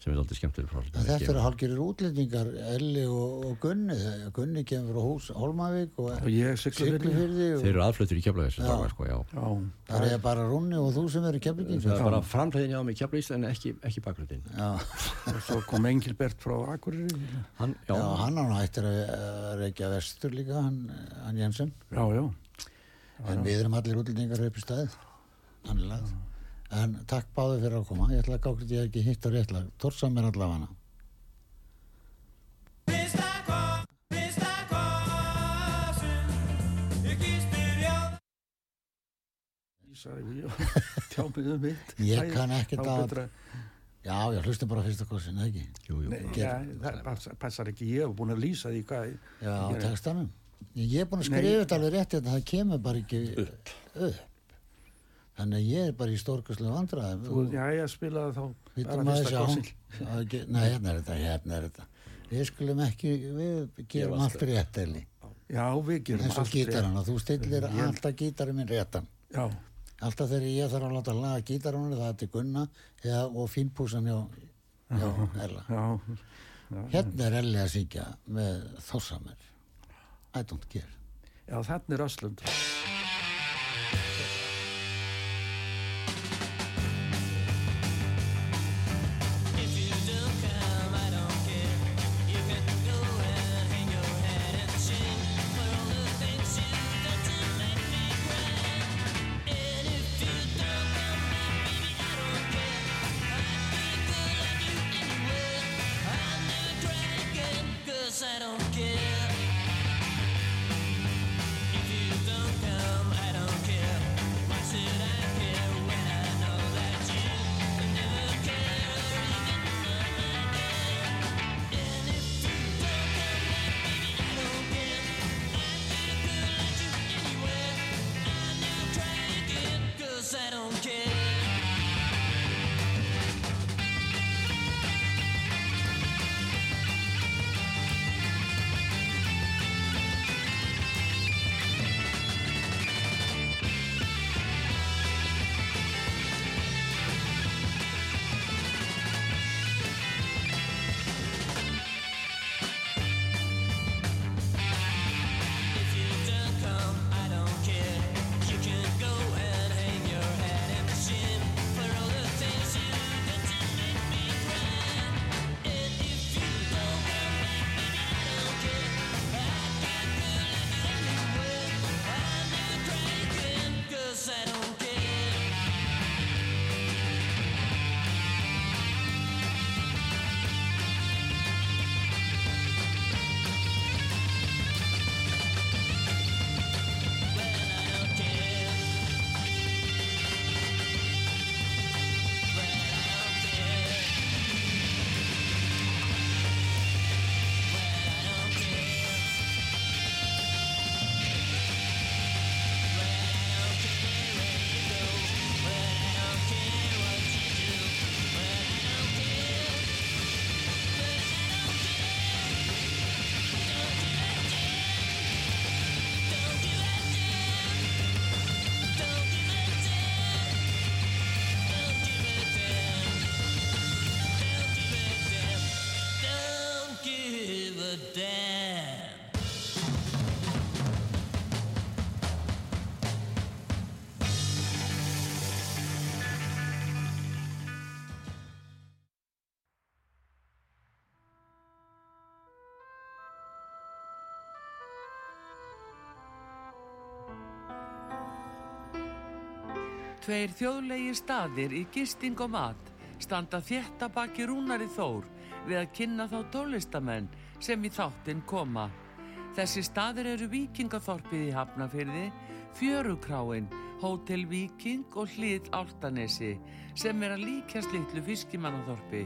Speaker 4: sem er alltaf skemmtileg frá
Speaker 3: En þetta eru hálfgerir útlendingar, Elli og, og Gunni. Gunni kemur frá hús Holmavík og
Speaker 5: Og ég sigla fyrir.
Speaker 3: Siglufyrði og
Speaker 4: Þeir eru aðfluttur í keflavík þessi dagar sko, já.
Speaker 5: Já,
Speaker 3: það er bara Rúnni og þú sem eru
Speaker 4: Það
Speaker 3: kemlingingar.
Speaker 4: er bara framhliðin hjá mig í keflavík en ekki, ekki baklutin.
Speaker 3: Já,
Speaker 5: og svo kom Engilbert frá Akureyri.
Speaker 4: Hann, já,
Speaker 3: já, hann á hættir að að reykja vestur líka, hann, hann Jensen.
Speaker 5: Já, já.
Speaker 3: En við erum allir útlendingar upp í staðið, þannig lagð. En takk báði fyrir að koma, ég ætla að gákrið ég hef ekki hitt á réttlag, torsa mér allavega hana.
Speaker 6: Fyrsta kosin Ég gistir já
Speaker 5: Ég sagði, já, tjá mig um mitt.
Speaker 3: Ég
Speaker 5: Æ,
Speaker 3: kann ekkert
Speaker 5: þá
Speaker 3: að-
Speaker 5: betra-
Speaker 3: Já, já, hlustum bara á fyrsta kosin, ekki?
Speaker 4: jú, jú.
Speaker 5: Já, það passa- passar ekki, ég hef búin að lýsa því hvað
Speaker 3: Já, á
Speaker 5: Ég-
Speaker 3: textanum. Ég er búin að
Speaker 5: Nei.
Speaker 3: skrifa þetta alveg rétt, þetta það kemur bara ekki upp. Þannig að ég er bara í stórkastlega vandræðum.
Speaker 5: þú, já, ég spilaði þá
Speaker 3: Vittum
Speaker 5: bara
Speaker 3: að þessi
Speaker 5: fyrsta
Speaker 3: án.
Speaker 5: kossinn.
Speaker 3: að ge- Nei, hérna er þetta, hérna er þetta. Við skulum ekki, við gerum allt rétt, Eli.
Speaker 5: Já, við gerum
Speaker 3: Eins og
Speaker 5: allt rétt.
Speaker 3: gítarana, þú stillir alltaf gítarinn minn réttan.
Speaker 5: Já,
Speaker 3: Alltaf þegar ég þarf að láta laga gítarunni það er til Gunna eða, og fínpúsan hjá, hjá Ella.
Speaker 5: já,
Speaker 3: Hérna er Elli að syngja með Þossamer. I don't care.
Speaker 5: já, þannig er Öslund
Speaker 6: Cause I don't care If you don't come
Speaker 2: Tveir þjóðlegir staðir í gisting og mat standa þétta baki Rúnari Þór við að kynna þá tólistamenn sem í þáttinn koma. Þessi staðir eru Víkingaþorpið í Hafnafyrði, Fjörukráin, Hótel Víking og Hlið Áltanesi sem er að líkjast litlu fiskimannaþorpi.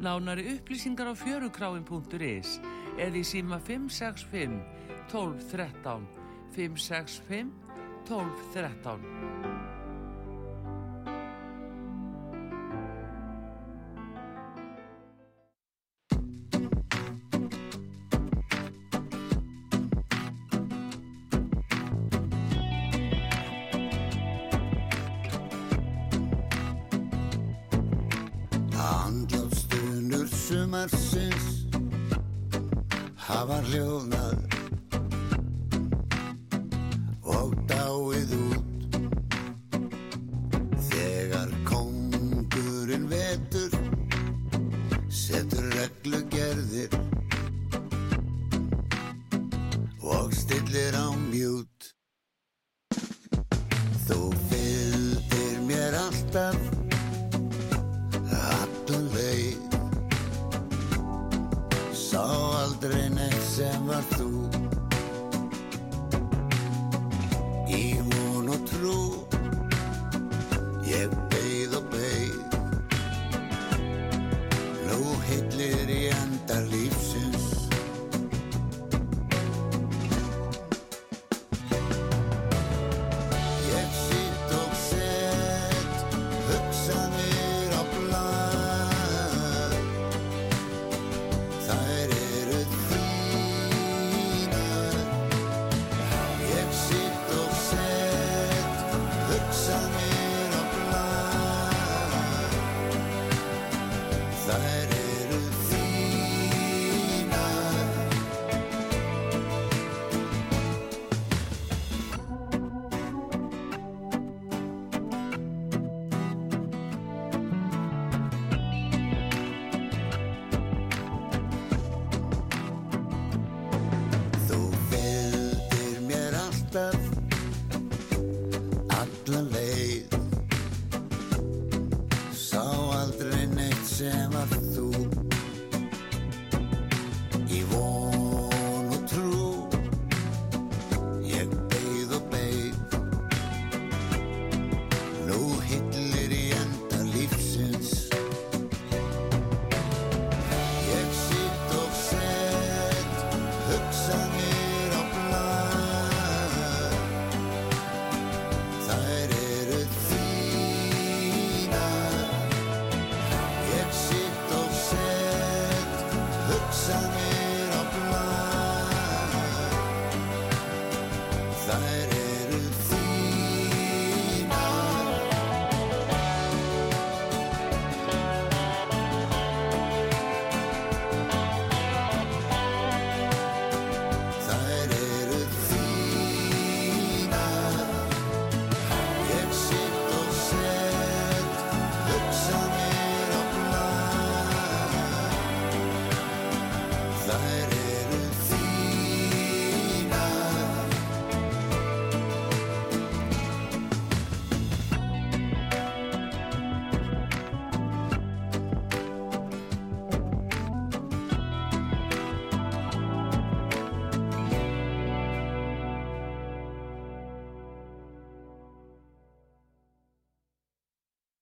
Speaker 2: Nánari upplýsingar á fjörukráin.is eða í síma 565 1213 565 1213
Speaker 3: Andlátsstunur sumarsins hafa hljóðnað og dáið út þegar kongurinn vetur setur reglugerðir og stillir á mjút Þú fylgir mér alltaf Allan veit Sá aldrei neitt sem var þú